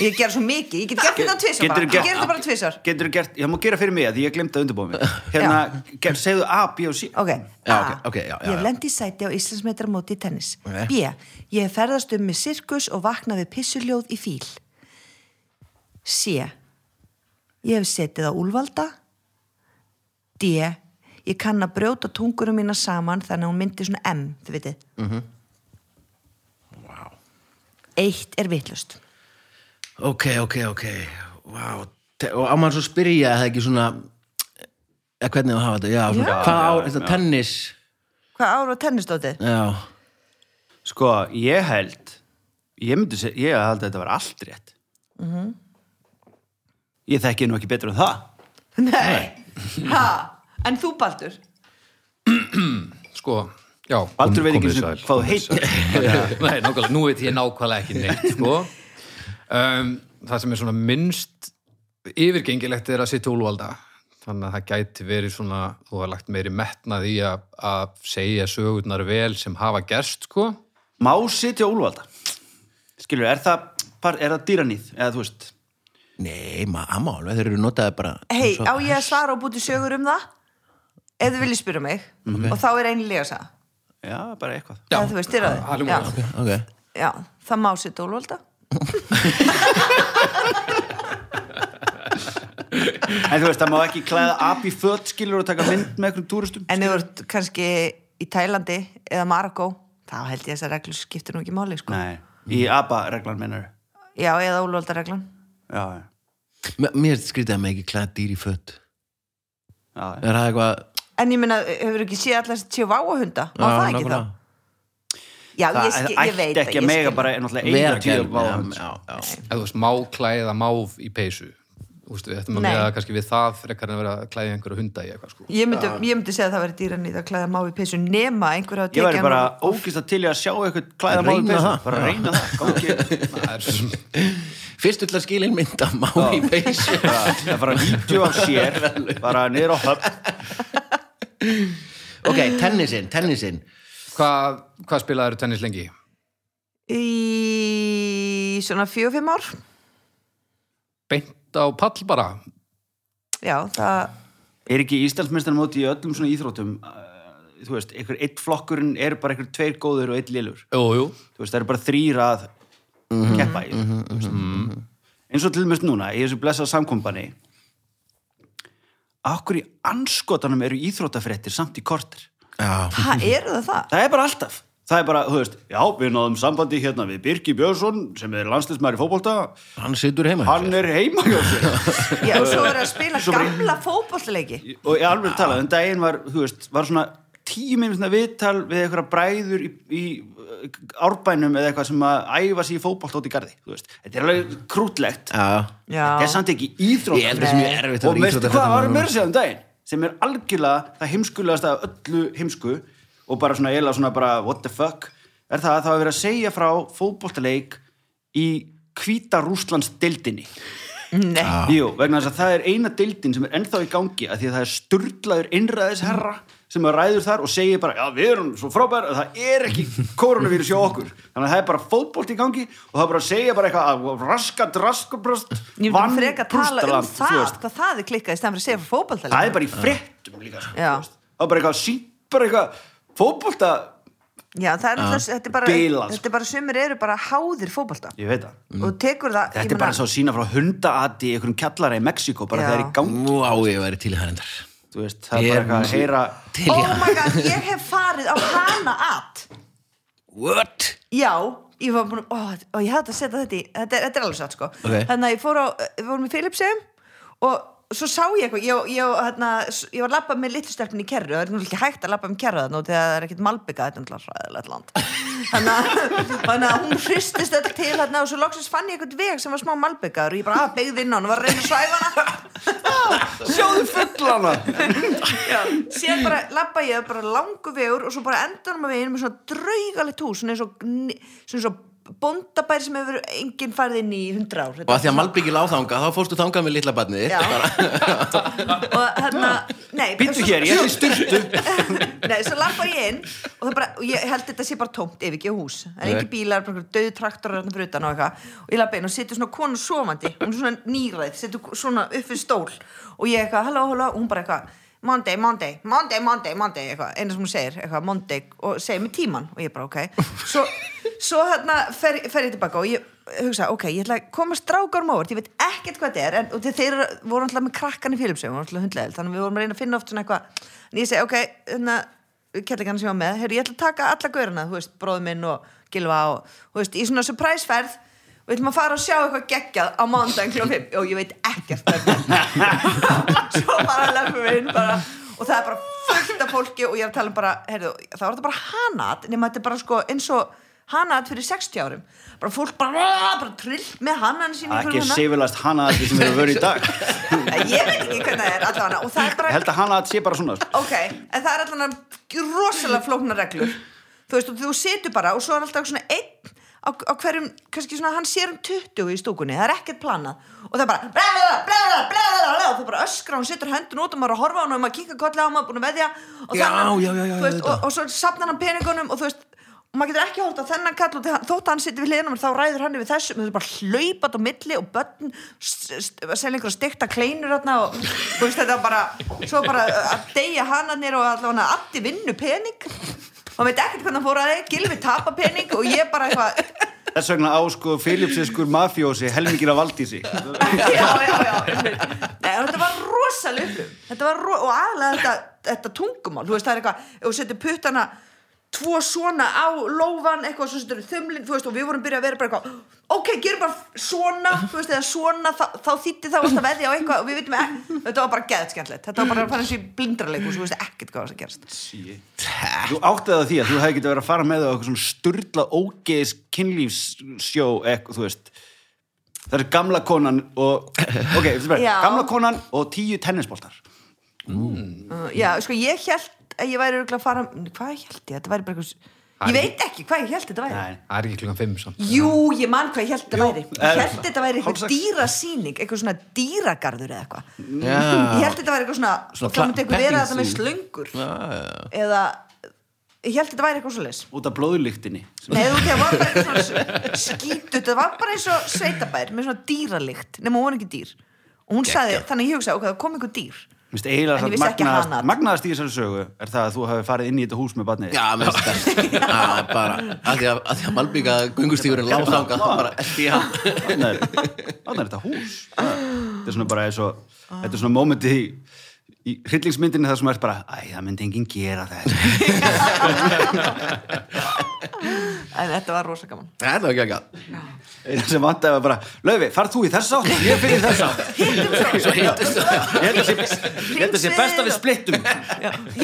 Ég gera svo mikið, ég get gert þetta tvisar
Geturðu
bara Ég
gert-
gera þetta bara tvisar
getur þú gert, ég má gera fyrir mig að því ég glemt að undirbúa mig. Hérna, ger, segðu A, B og C.
Ok,
Já,
A.
ok, ok, já, já,
Ég hef
já.
lent í sæti á Íslandsmetramóti í tennis
Ok.
B. Ég hef ferðast um með sirkus og vaknað við pissuljóð í fíl C. Ég hef setið á úlvalda D. Ég ég kann að brjóta tungurum mína saman þannig að hún myndi svona M, þið vitið mm
Mhm.
-hmm. Eitt er vitlust
ok, ok, ok wow. Te- og á mann svo spyrja það ekki svona eða hvernig þú hafa þetta, já, svona,
Já.
hvað á
Já,
þetta
já.
tennis
Hvað ára tennisdótið?
já,
Sko, ég held ég myndi segja, ég held að þetta var allt rétt
Mhm.
Ég þekki nú ekki betur en það
Nei, ha, en þú Baldur
sko, já
Baldur veit ekki
komið
einu
sæl,
sinni hvað þú heitir
Nei, nákvæmlega, nú veit ég nákvæmlega ekki neitt sko. um, það sem er svona minnst yfirgengilegt er að sitja úlvalda þannig að það gæti verið svona þú hafa lagt meiri metnað í að, að segja sögurnar vel sem hafa gerst sko.
Má sitja úlvalda Skilur, er það, par- er það dýranýð eða þú veist
nei, maður, amma alveg, þeir eru notaði bara
Hei, á ég að svara og búti sögur um það? Ef þú viljið spyrja mig Og þá er einlega þess að
Mhm. Já, bara eitthvað
Já,
þú veist, þér
það
að
hljómar
já,
ok,
já, það má sér dólvalda
En þú veist, það má ekki klæða ab í fött skilur og taka mynd með einhverjum túristum
En ef þú ert kannski í Tælandi eða Marokko, þá held ég að þessar reglur skiptir nú ekki máli, sko.
Nei, í ABBA-reglan mennur
Já, eða úlvaldarreglan.
Já, já,
M mér finnst skrítið að maður ekki klæða dýr í fött
já
er það eitthvað
En ég meina, hefur ekki séð allar þessi tjóváahunda? Má
Já,
það ekki
nákvæmlega.
þá? Já, ég,
Það
skil, ég
ætti
veit að
ekki
ég
að mega
skil.
bara náttúrulega
vera
eina tíu
gerð
váhund
já, já, já.
eða þú veist, má klæða máf í peysu Ústu, við ættum að
Nei.
meða kannski við það frekar en að vera að klæða einhverja hunda í eitthvað sko.
Ég myndi, ég myndi segja að það væri dýran í það að klæða má við peysu nema einhver hafa
Ég væri
tekið
bara
hann-
ógist að til ég að sjá eitthvað klæða
Reyna
máli
það.
bara reyna það, gangi
það er svo sem
fyrst öll að skilin mynda má í peysu
Það fara að vídeo af sér bara niður á höfn
ok, tennisinn, tennisinn
Hvað, hvað spilaður tennis lengi?
Í svona fjögum-fimm ár.
Beint á pall bara?
Já, það...
Er ekki Íslandsmeistarum móti í öllum svona íþrótum eh, þú veist, einhver eitt flokkurinn er bara einhver tveir góður og eitt lélur
Jú, jú.
þú veist, það eru bara þrýr að keppa í mm -hmm. eins og til mest núna, í þessu blessað samkombani Akkur í anskotanum eru íþrótafréttir samt í kortir
já,
Hæ, eru það það?
Það er bara alltaf. Það er bara, þú veist, já, við náðum sambandi hérna við Birgi Björnsson, sem er landslismæri fótbolta,
hann situr heima
hann er heima hjá sér.
Já, og svo er að spila
Svo bara-
gamla fótbollleiki.
og ég alveg talað, en daginn var, þú veist, var svona tíu minnum viðtal við eitthvað bræður í, í uh, árbænum eða eitthvað sem að æfa sér í fótbolta út í garði, þú veist. Þetta er alveg krútlegt.
já,
Já.
Þetta er samt ekki íþrótt.
ég held þessum ég erfitt að
og
vera
veistu
íþróttafréttamaður
hvað var
núna.
meira sér um daginn sem er algjörlega það heimskulegast af öllu heimsku og bara svona eiginlega svona bara what the fuck er það að það var verið að segja frá fótboltaleik í hvíta Rúslands deildinni
Nei.
Jú, vegna þess að það er eina deildin sem er ennþá í gangi að því að það er sturdlaður innræðisherra sem að ræður þar og segir bara já við erum svo frábær að það er ekki koronavírus hjá okkur þannig að það er bara fótbolt í gangi og það er bara að segja bara eitthvað "Ah, að raskat raskabröst
Ég myndi freka að tala um
Prústaland, þú
það,
veist.
hvað það er klikkað í stæðan fyrir að segja fyrir fótbollleiki.
það er bara í fréttum líka sko,
Já.
þú veist. það er bara eitthvað sínt bara eitthvað fótbolta
Já, það er alltaf, þetta er bara,
Bilað, sko.
þetta er bara sumir eru bara háðir fótbolta
ég veit það
og tekur það,
þetta er bara svo sína frá hundaati í einhverjum kjallara í Mexíko bara
Já.
það er í gangi
Vá, ég væri til í það endar
þú veist, það er bara eitthvað að heyra
til í
oh
það
my god, ég hef farið á hana at,
What?
já ég var búin, ó, ó ég hafði að setja þetta í þetta er, þetta er alveg satt sko,
Ok.
þannig að ég fór á við vorum í Philipsum og svo sá ég eitthvað, ég, ég, hérna, ég var labbað með litlustelpun í kerru, það er nú ekki hægt að labba um kerru þannig að það er ekkit malbyggað þetta er náttúrulega hræðilegt land þannig að, þannig að hún hristist þetta til hérna, og svo loksins fann ég eitthvað veg sem var smá malbyggaður og ég bara að byggði inn á hann og var að reyna að svæfa hana
sjáðu fullana
Já, síðan bara labba ég bara langu vegur og svo bara endanum að veginn með svona draugalegt hús svona eins og, gni- svona eins og bóndabær sem hefur enginn farið inn í hundra ár
Og að því að Malbyggi láð þangað, þá fórstu þangað með litla barnið
Já. og hérna, nei
býttu
svo-
hér, ég er í styrtu
Nei, svo lappa ég inn og, það bara, og ég held þetta sé bara tómt ef ekki hús það er ekki bílar, bara döðu traktorar hérna fyrir utan og eitthvað og ég lappa inn og setur svona konu sofandi hún er svona nýræð, setur svona upp fyrir stól og ég eitthvað, halló, halló og hún bara eitthvað, Monday, Monday, Monday, Monday, Monday eitthvað, eina sem hún segir, eitthvað, Monday og segir mig tíman og ég bara, ok svo, svo hérna fer, fer ég tilbaka og ég hugsa, ok, ég ætla að koma strákarum á óvart, ég veit ekkert hvað þetta er en, og þeir- þeir eru- voru alltaf með krakkan í félumsögum hundlega, þannig að við vorum að reyna að finna oft svona eitthvað en ég segi, ok, hérna, þannig að kjallingarna sem ég var með, heyrðu, ég ætla að taka alla gaurina þú veist, bróðu minn og gilva og þú veist, í svona surpriseferð og við ætlum að fara og sjá eitthvað geggjað á mándag kljóðum 5 og ég veit ekkert hvað þetta er. svo bara lefum við inn bara, og það er bara fullt af fólki og ég er að tala um bara, heyrðu, það var þetta bara hanat nema þetta er bara sko eins og hanat fyrir 60 árum bara fólk bara, bara trill með hanan sín í
ekki
kringum hana.
sevilast hana allir sem eru að vera í dag
ég veit ekki hvernig það er allavega og það er
ég
bara
held að hana sé bara svona sko.
ok, en það er allan rosalega flóknar reglur þú veist, og þú situr bara og svo er alltaf svona einn á, á hverjum, kannski svona hann sér um 20 í stúkunni, það er ekkert planað og það er bara blæða, blæða, blæða, blæða og þú bara öskra, hún setur höndun út og maður er að horfa á hann og maður kinka kollega á maður er búin að veðja og,
Já,
þennan,
já, já, já,
þú veist,
auðvitað.
og, og svo sapnar hann peningunum og þú veist og maður getur ekki hórt á þennan kall og þegar- þótt að hann sittir við hliðinum þá ræður hann yfir þessu og það er bara hlaupat á milli og börn st- st- að selja einhverja stekta kleinur þarna og þú veist þetta var bara svo bara að deyja hanarnir og allavega allir vinnu pening og veit ekkert hvernig hann fór að þeir gilfi tapa pening og ég bara eitthvað
þess vegna á sko Filipsiskur mafjósi helmingir að valdi sig
já, já, já einmitt. Nei, og þetta var rosaleg upplifun. þetta var ro og aðlega þetta, þetta tungumál þú veist það er eitthvað, ef þú setur puttana tvo svona á lófan eitthvað svo setur þumlin, þú veist og við vorum byrjað að vera bara eitthvað ok, gerum bara svona þú veist, eða svona, þá, þá þýtti þá að veðja á eitthvað og við veitum ekki, þetta var bara geðskendlegt þetta var bara að fara eins og í blindraleikus þú veist ekkert hvað var að gerast
þú áttið að því að þú hefði getið verið að fara með á eitthvað svona sturla ógeðis kynlífssjó eitthvað, þú veist það er gamla konan og ok, veistu bara,
Já.
gamla konan og tíu tennisboltar
Uh, já, sko, ég held að ég væri örugglega að fara, hvað held ég, þetta væri bara eitthvað ég veit ekki hvað ég held þetta væri
Nei.
Það er ekki klukkan 5 samt
Jú, ég man hvað ég held þetta væri Ég
eh,
held þetta væri
hálf
eitthvað
sex.
dýrasýning Eitthvað svona dýragarður eða eitthvað Ég
Já,
held þetta væri eitthvað svona,
Svona
svona Það myndi eitthvað vera þetta með
petting
slöngur
já, já.
Eða Ég held þetta væri eitthvað svoleiðis
út af blóðlíktinni
Nei, þú veist, það var bara eitthvað svona skítut Það var bara eins og sveitabær Með svona dýralikt, nema hún var ekki dýr Og hún sagði, þannig að ég hugsaði, ok, það kom eitthvað dýr
Mist,
En
eiginlega
ég
satt
vissi ekki
magnaðast,
hana.
magnaðast í þessari sögu er það að þú hafi farið inn í þetta hús með barnið
Já, mér finnst það Já, bara, að því að, að, því að Malbíka göngustífurinn lág þangað, þá bara elti ég hann
Þarna er þarna er þetta hús Það- Þetta er svona bara eins og
Ah.
Þetta er svona mómentið í, í hryllingsmyndinni þar sem er bara Æ, það myndi enginn gera þetta
En þetta var rosa gaman
Þetta var ekki ekki að
Einu sem vantaði var bara Laufi, farð þú í þess átt, ég fyrir þess átt
Hittum um svo,
Svo hittist það
Ég held að sé- ég held að sé best að við splittum
já,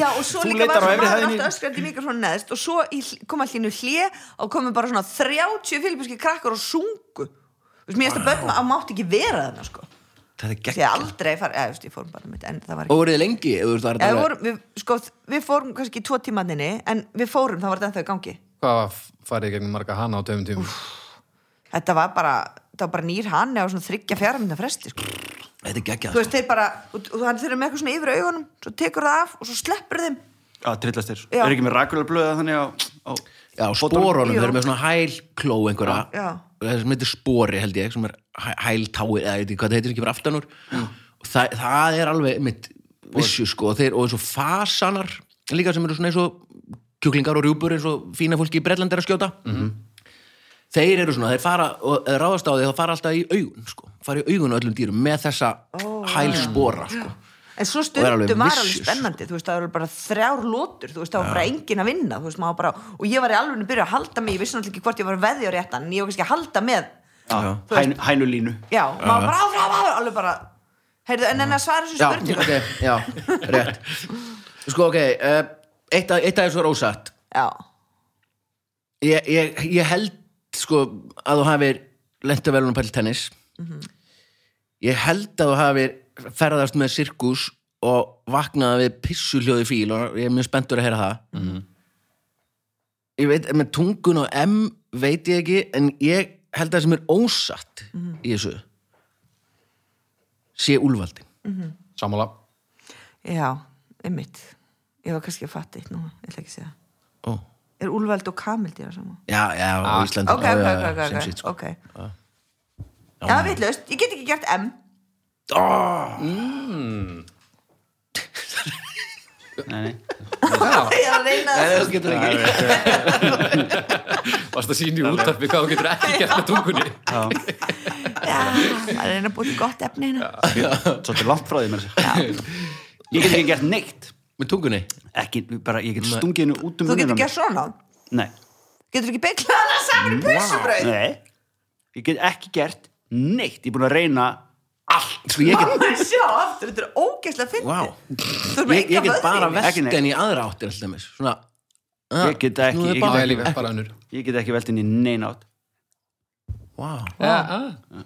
já, og svo
Þú
líka
leitar á
var svona
efri
maður
hæðinni.
alltaf öskrandi í mikrofónu neðst og svo í hl- kom allir nú hlje og komu bara svona 30 filipiski krakkar og sungu þú veist, mér finnst að börn að mátt ekki vera þarna sko
Þetta er
því
gegn
að aldrei fara, eða, þú veist, ég fórum bara mitt en það
Og
var ekki
voruð þið lengi, ef þú veist það
eða, við
var
vorum, við, sko, við fórum kannski í tvo tímaninni en við fórum, það var þetta ennþá í gangi
Hvað var farið í gegnum marga hana á töfum tímum?
þetta var bara, þetta var bara nýr hann eða svona þryggja fjara mynda fresti sko.
Þetta er gegn
þú veist, þeir bara, og, og hann þeir eru með eitthvað svona yfir augunum svo tekur það af og svo sleppur þeim
Já, trillast þér
Já.
Er ekki með rakularblöða þannig á, á
Já, spórunum,
Jú.
þeir eru með svona hælkló einhverja
Já.
Það sem heitir spori, held ég, sem er hæ- hæltáir eða ég veit ekki hvað það heitir ekki fyrir aftan úr Og það, það er alveg, mitt, vissu sko og Þeir, og eins og fasanar líka sem eru svona eins og kjúklingar og rjúpur eins og fína fólki í Bretland er að skjóta
Mhm.
þeir eru svona, þeir fara og eða ráðast á því þá fara alltaf í augun sko. fara í augun á öllum dýrum með þessa hælspora sko.
En svo
er alveg
stundum var alveg
vicious,
spennandi, þú veist, það eru bara þrjár lótur, þú veist, það var bara engin að vinna, þú veist, maður bara, og ég var í alveg að byrja að halda mig, ég vissi náttúrulega ekki hvort ég var að veðja réttan, en ég var kannski að halda með,
á
Þú veist-
hæn, hænulínu
já, maður bara áfram, áfram, alveg bara, heyrðu, en en að svara þessu
já,
spurningu,
ok, já, rétt sko, ok uh, eitt af eitt af þessu er ósatt
já,
ég, ég, ég held sko að þú hafir lenta vel um pæl tennis
Mhm.
ég held að þú hafir ferðast með sirkus og vaknaði við pissuljóði fíl og ég er mjög spenntur að heyra það
Mhm.
ég veit, með tungun og M veit ég ekki, en ég held að það sem er ósatt
Mhm.
í þessu sé úlvaldi
Sammála
já, einmitt, ég var kannski að fatta eitt núna, ég ætla ekki að segja,
Ó.
er Úlvald og Kamil dýra saman?
já, já, á
Ah.
Íslandi
Ok,
já,
ok,
já, já,
ok, ok,
sem
ok,
sitt, sko.
ok, já, vitlaust, ég get ekki gert M,
Ó,
Nei, nei.
Ég er að reyna
Nei,
að
það getur ekki
Varst að sína í útarpi hvað þú getur ekki gert með tungunni
Já, maður er að reyna að búið gott efni hérna
Svolítið langt frá því mér Ég get ekki gert neitt
Með tungunni
ekki, bara, Ég get stungið henni út um
Þú
munninn á
getur
mér.
gert svona
Nei,
Getur ekki beiklað hana saman í pulsubröð
nei Ég get ekki gert neitt Ég er búin að reyna allt
Sko ég get,
Mamma, sjá aftur, þetta er ógeðslega fyndið
wow.
Þú erum
ég, ég
enga
get bara
vöðvinn.
vest
Ekki neitt.
en í aðra áttir alltaf mér Svona ah,
Ég get ekki-
nú er
ég get
Það
bara-
er líka bara önnur
Ég get ekki velt henni neina átt
Vá,
Já, já.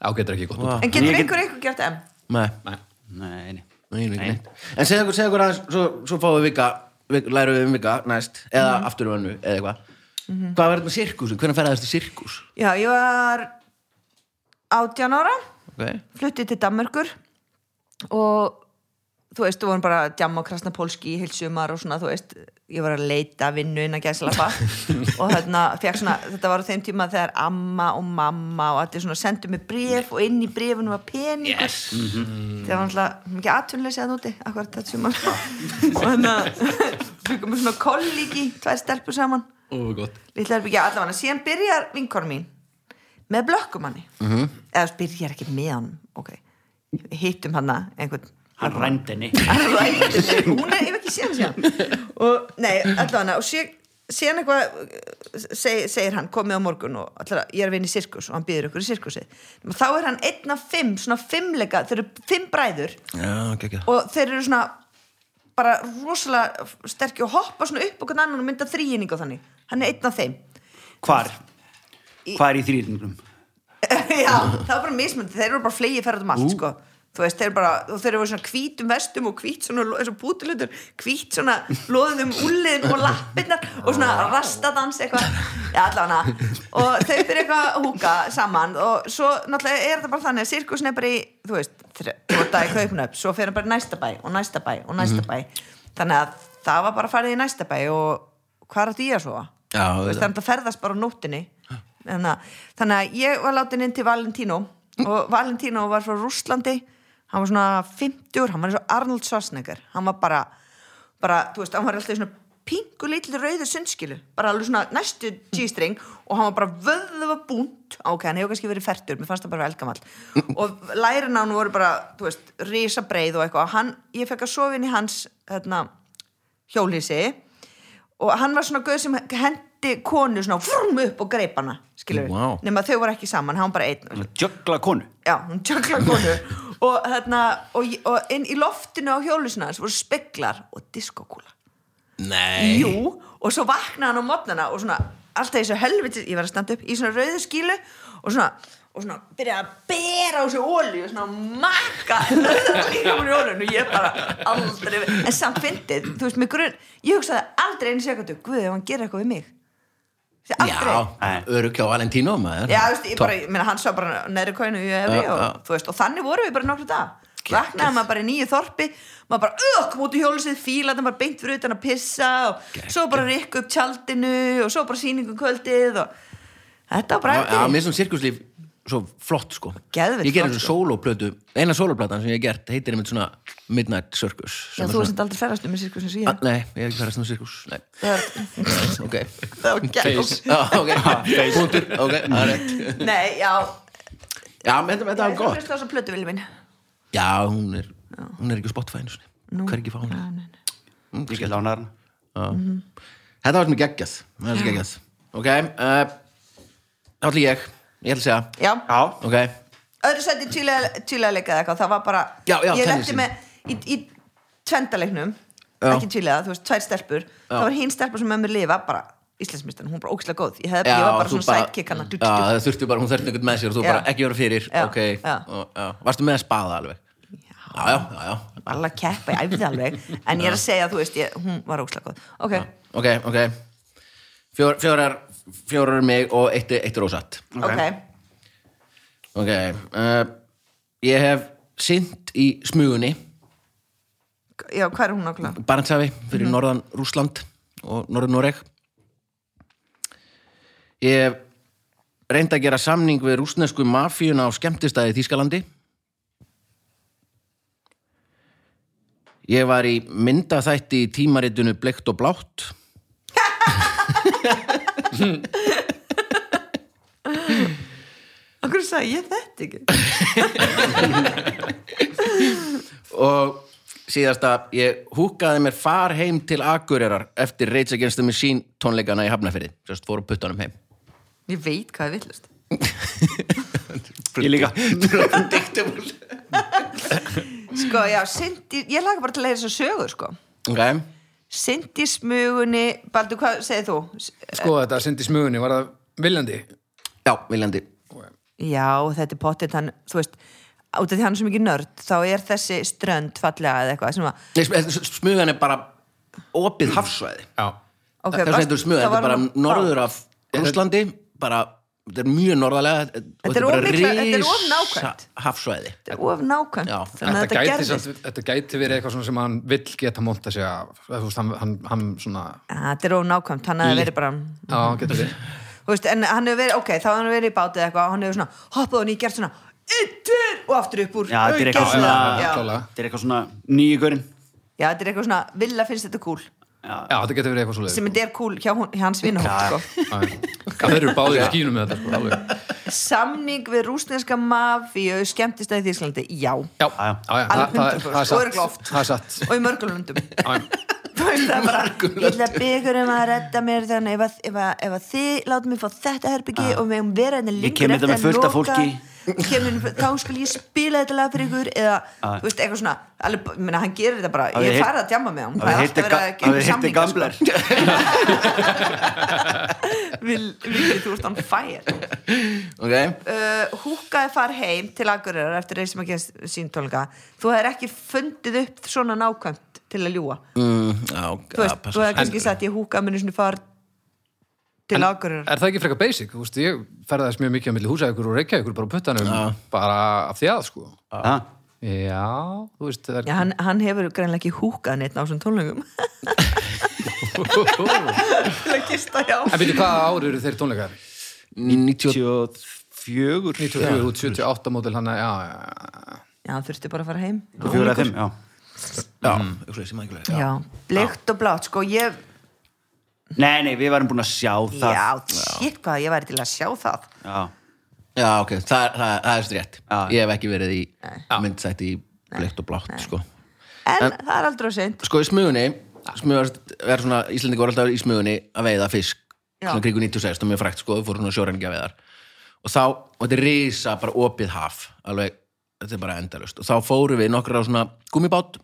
Já, getur ekki gott út
vá
En getur
Ég get-
einhver einhver gert M?
Nei,
Nei.
nei,
Nei, nei
ég veit ekki neitt. En segðu okkur, segðu okkur aðeins Svo, svo fáum við vika, vik, lærum við um vika næst Eða
Mhm.
aftur um önnu, eða eitthvað Hvað verður með sirkusin? Hvernig ferða þessi sirkus?
Já, ég var 18 ára
Okay.
fluttið til Danmörkur og þú veist, þú vorum bara að djamma og krasna pólski í heilsumar og svona, þú veist ég var að leita vinnu innan gæslappa og þarna fekk svona, þetta var á þeim tíma þegar amma og mamma og allir svona sendu mig bref og inn í brefunum var peningur yes.
Mhm.
það var náttúrulega mikið atvinnleysi að úti akkurat þetta sumar og þannig að byggum við svona kollíki tvær stelpur saman
Ó, gott
litla herbyggja allavega síðan byrjar vinkonu mín með blökkumanni -hmm. eða þú byrjar ekki með hann ok, hittum hann einhvern
Hann rændi henni
hún er, ég hef ekki séð hann síðan og nei, allavega og sé, síðan eitthvað eh, seg, segir hann, komið á morgun og allavega, ég er að vinna í sirkus og hann býður ykkur í sirkusið þá er hann einn af fimm, svona fimmleika þeir eru fimm bræður
Já, ekki ekki
og þeir eru svona bara rosalega sterkir og hoppa svona upp og hvern annan og mynda þrýinning og þannig hann er einn af þeim
Hvar? Hvað er í þrýringum?
Já, það var bara mismunandi, þeir eru bara flegið ferð um allt, sko Þú veist, þeir eru bara, og þeir eru svona hvítum vestum og hvít svona, eins og bútilutur hvít svona loðum úliðin og lappirnar og svona rastadans eitthvað, já allavega og þau byrja eitthvað að húka saman og svo náttúrulega er það bara þannig að sirkusin er bara í, þú veist, þrjóta í kaupnöp svo fer hann bara í næsta bæ og næsta bæ og næsta bæ, þannig að það var bara farið í næsta bæ og hvað er að dýja svo?
Já,
Þú
auðvitað.
veist, það er hægt að ferðast bara á nóttinni þannig að, þannig að ég var látin inn til Valentino og Valentino var frá Rússlandi hann var svona 50 úr, hann var eins og Arnold Schwarzenegger hann var bara, bara þú veist, hann var alltaf í svona pingu litlu rauðu sundskilu, bara alveg svona næstu G-string og hann var bara vöðva búnt ok, hann hefur kannski verið færtur, mér fannst það bara velgamall og lærin á hann voru bara þú veist, risabreið og eitthvað hann, ég fekk að sofa inn í hans hérna, hjólísi og hann var svona gauð sem hendi konu svona frum upp og greip hana skilur við,
Vá.
nema þau voru ekki saman hann var bara einn,
Jökla konu
já, hún tjökla konu og þarna, og, og inn í loftinu á hjólusinu hans voru speklar og diskokúla
Nei
Jú, og svo vaknaði hann á mótnana og svona, alltaf í þessu helviti ég var að standa upp í svona rauðu skílu og svona, og svona byrjaði að bera á sig ólíu og svona makka líkamun í ólíu og ég bara aldrei, en samt fyndið þú veist, mig grunn, ég hugsaði aldrei einu sekundu guð, ef hann gerir eitthvað við mig Þessi aldrei
Já, örugkjá Valentino maður
Já, þú veist, ég
Topp.
bara, ég meina, hann sá bara neðri kóinu í efri
Já,
og,
já.
þú veist, og þannig vorum við bara nokkru dag Vaknaði maður bara í nýju þorpi maður bara ökk múti hjólusið fíla þannig bara beint fyrir utan að pissa og svo bara rikku upp tjaldinu og svo bara sýningum kvöldið og þetta var bara
Já,
eftir
mér finnst um sirkuslíf svo flott sko
Geðveikt
Ég gerði
flott,
þessu sólóplötu, eina sólóplatan sem ég hef gert heitir einmitt svona Midnight Circus
Já,
sem er
þú
svona-
veist aldrei ferðast um í sirkus eins og
Ah, Nei, ég hef ekki færast um sirkus Nei,
ég
ok
Það var gæl
Já, ok, punktur, ok, það er rétt
Nei, já
Já, menn þetta þetta var
Ég
gott
hlusta á þessa plötu, vilja minn
Já, hún er, hún er ekki á Spotify einu sinni. Hver er ekki fá hún
Já, nei, nei.
Ég get lána hana
Þetta var sem er geggjað, það var sem geggjað Ok, uh, þá ætla ég, ég ætla að segja
Já,
Já,
Ok,
öðru sætti tvílega eða eitthvað, það var bara
Já, já,
ég
tennisin.
lendi með í, í tvendaleiknum
Já.
ekki tvílega, þú veist, tvær stelpur það var hinn stelpur sem með mér lifa bara Íslandsmyndan, hún var bara ógislega góð ég, hef, ég var bara
þú
svona sidekick hana
Já, það þurfti bara, hún þurfti einhvern með sér og þú
Já.
bara ekki vera fyrir
Já,
ok,
já.
Og, já. Varstu með að spaða alveg? Já, já, já, já.
alla keppa, ég æfði alveg en ég er að segja, þú veist, ég, hún var ógislega góð ok,
Ok, ok Fjór, Fjórar, fjórar er mig og eitt, er- eitt er ósatt
ok,
Ok, uh, ég hef sint í smugunni
já, hvað er hún nákvæmlega?
Barentsafi fyrir norðan Rússland og norður Noreg Ég hef reynd að gera samning við rússnesku mafíuna á skemmtistæði í Þýskalandi Ég var í myndaþætti í tímaritinu Bleikt og Blátt
Akkur sagði ég þetta ekki
og síðasta, ég húkaði mér far heim til Akureyrar eftir Rage Against the Machine tónleikana í Hafnafyrði sérst fór að puttanum heim
Ég veit hvað er villust
Ég líka
Sko, já, Cindy, ég laga bara til að leira þess að sögur, sko
ok,
Cindy smugunni, Baldur, hvað segir þú? S-
Sko þetta syndi smugunni, var það viljandi?
já, viljandi
Já, þetta er pottet hann, þú veist út af því hann er svo mikið nörd, þá er þessi strönd fallega eða eitthvað sem að
Nei, sm- eh, s- smugan er bara opið hafsvæði
Já.
Ok,
okay, þess
varst-
veitur smug,
það
þetta
var
er bara
nú-
norður af Rúslandi, bara þetta er mjög norðarlega og
Þetta er of
bara
mikla- þetta er of
risa
nákvæmt.
hafsvæði
Þetta er of nákvæmt
Já.
þannig að
Þetta,
þetta
gæti
gerðist
samt, þetta gæti verið eitthvað svona sem hann vill geta monta sig af. Þú veist, hann, hann, hann svona,
Ja, Þetta er of nákvæmt, hann hefði verið bara
já, getur við.
Þú veist, en hann hefur verið, ok, þá hefur hann verið í bátið eitthvað og hann hefur svona hoppað og ný gert svona yttir og aftur upp úr
Já, þetta er
og
eitthvað
gert
svona
já.
já, já. klárlega.
Þetta er eitthvað svona nýju görinn
já, þetta er eitthvað svona, Villa finnst þetta cool
Já, þetta getur verið eitthvað svo
sem þetta er cool hjá hún, hjá hans
Já.
vinnahótt sko.
leiðis. Það eru báðið í skínum með þetta, sko, alveg.
samning við rúsneska mafíu skemmtist að í Þýsklandi, já og
Já,
já.
já, já, það,
Alveg
það,
100%,
það er
og
satt.
örugglega oft.
Það er satt.
í mörgulundum
Já, já.
þú veist það er bara ég ætla að byggur um að redda mér þannig ef, að- ef, að- ef að þið látum mig fá þetta herbyggi og við höfum vera henni lengur
kem hérna með fullt af fólki.
kemur, hérna þá skal ég spila þetta lag fyrir ykkur eða, þú veist, eitthvað svona alveg, minna, hann gerir þetta bara,
Hafið
ég
heyrt-
farið að djama með hann það
Það
er alltaf
heitir
verið að gera samninga sko.
gamlar
Vil- Vilfríð, þú ert on fire
ok,
uh, húkaði far heim til Akureyrar eftir reisum að gera síntónleika þú hefur ekki fundið upp svona nákvæmt til að ljúa
mm, já,
Uh, þú veist, þú hefur kannski
en,
sagt ég húkaði minni svona far til Akureyrar
Er það ekki frekar basic? Þú veist, ég ferðaðist mjög mikið á milli húsækur og reykjaður bara á puttanum, bara af því að, sko. Já, þú veist, það er...
Já, hann, hann hefur greinlega ekki húkað neitt á svona tónleikum til að gista hjá
En veitir hvaða ár eru þeir tónleikar?
90,
94
94 út 78 mótil hann að, já, já, já.
Já, hann þurfti bara að fara heim
94 að 5 já
já, eitthvað sem að ekki
Já, bleikt og blátt, sko ég,
Nei, nei, við varum búin að sjá það
já, shit hvað ég væri til að sjá það
Já.
já, ok, það, það, það er strétt
Já.
ég hef ekki verið í myndsætti í Bleikt og Blátt, sko
en, það er aldrei að seint
sko í smugunni smugast, er svona, Íslendingur er alltaf í smugunni að veiða fisk
Já.
svona kringu 96, það er mjög frækt sko, við fórum svona sjóræningja veiðar og þá, og þetta er risa bara opið haf, alveg þetta er bara endalust, og þá fórum við nokkra á svona gummibát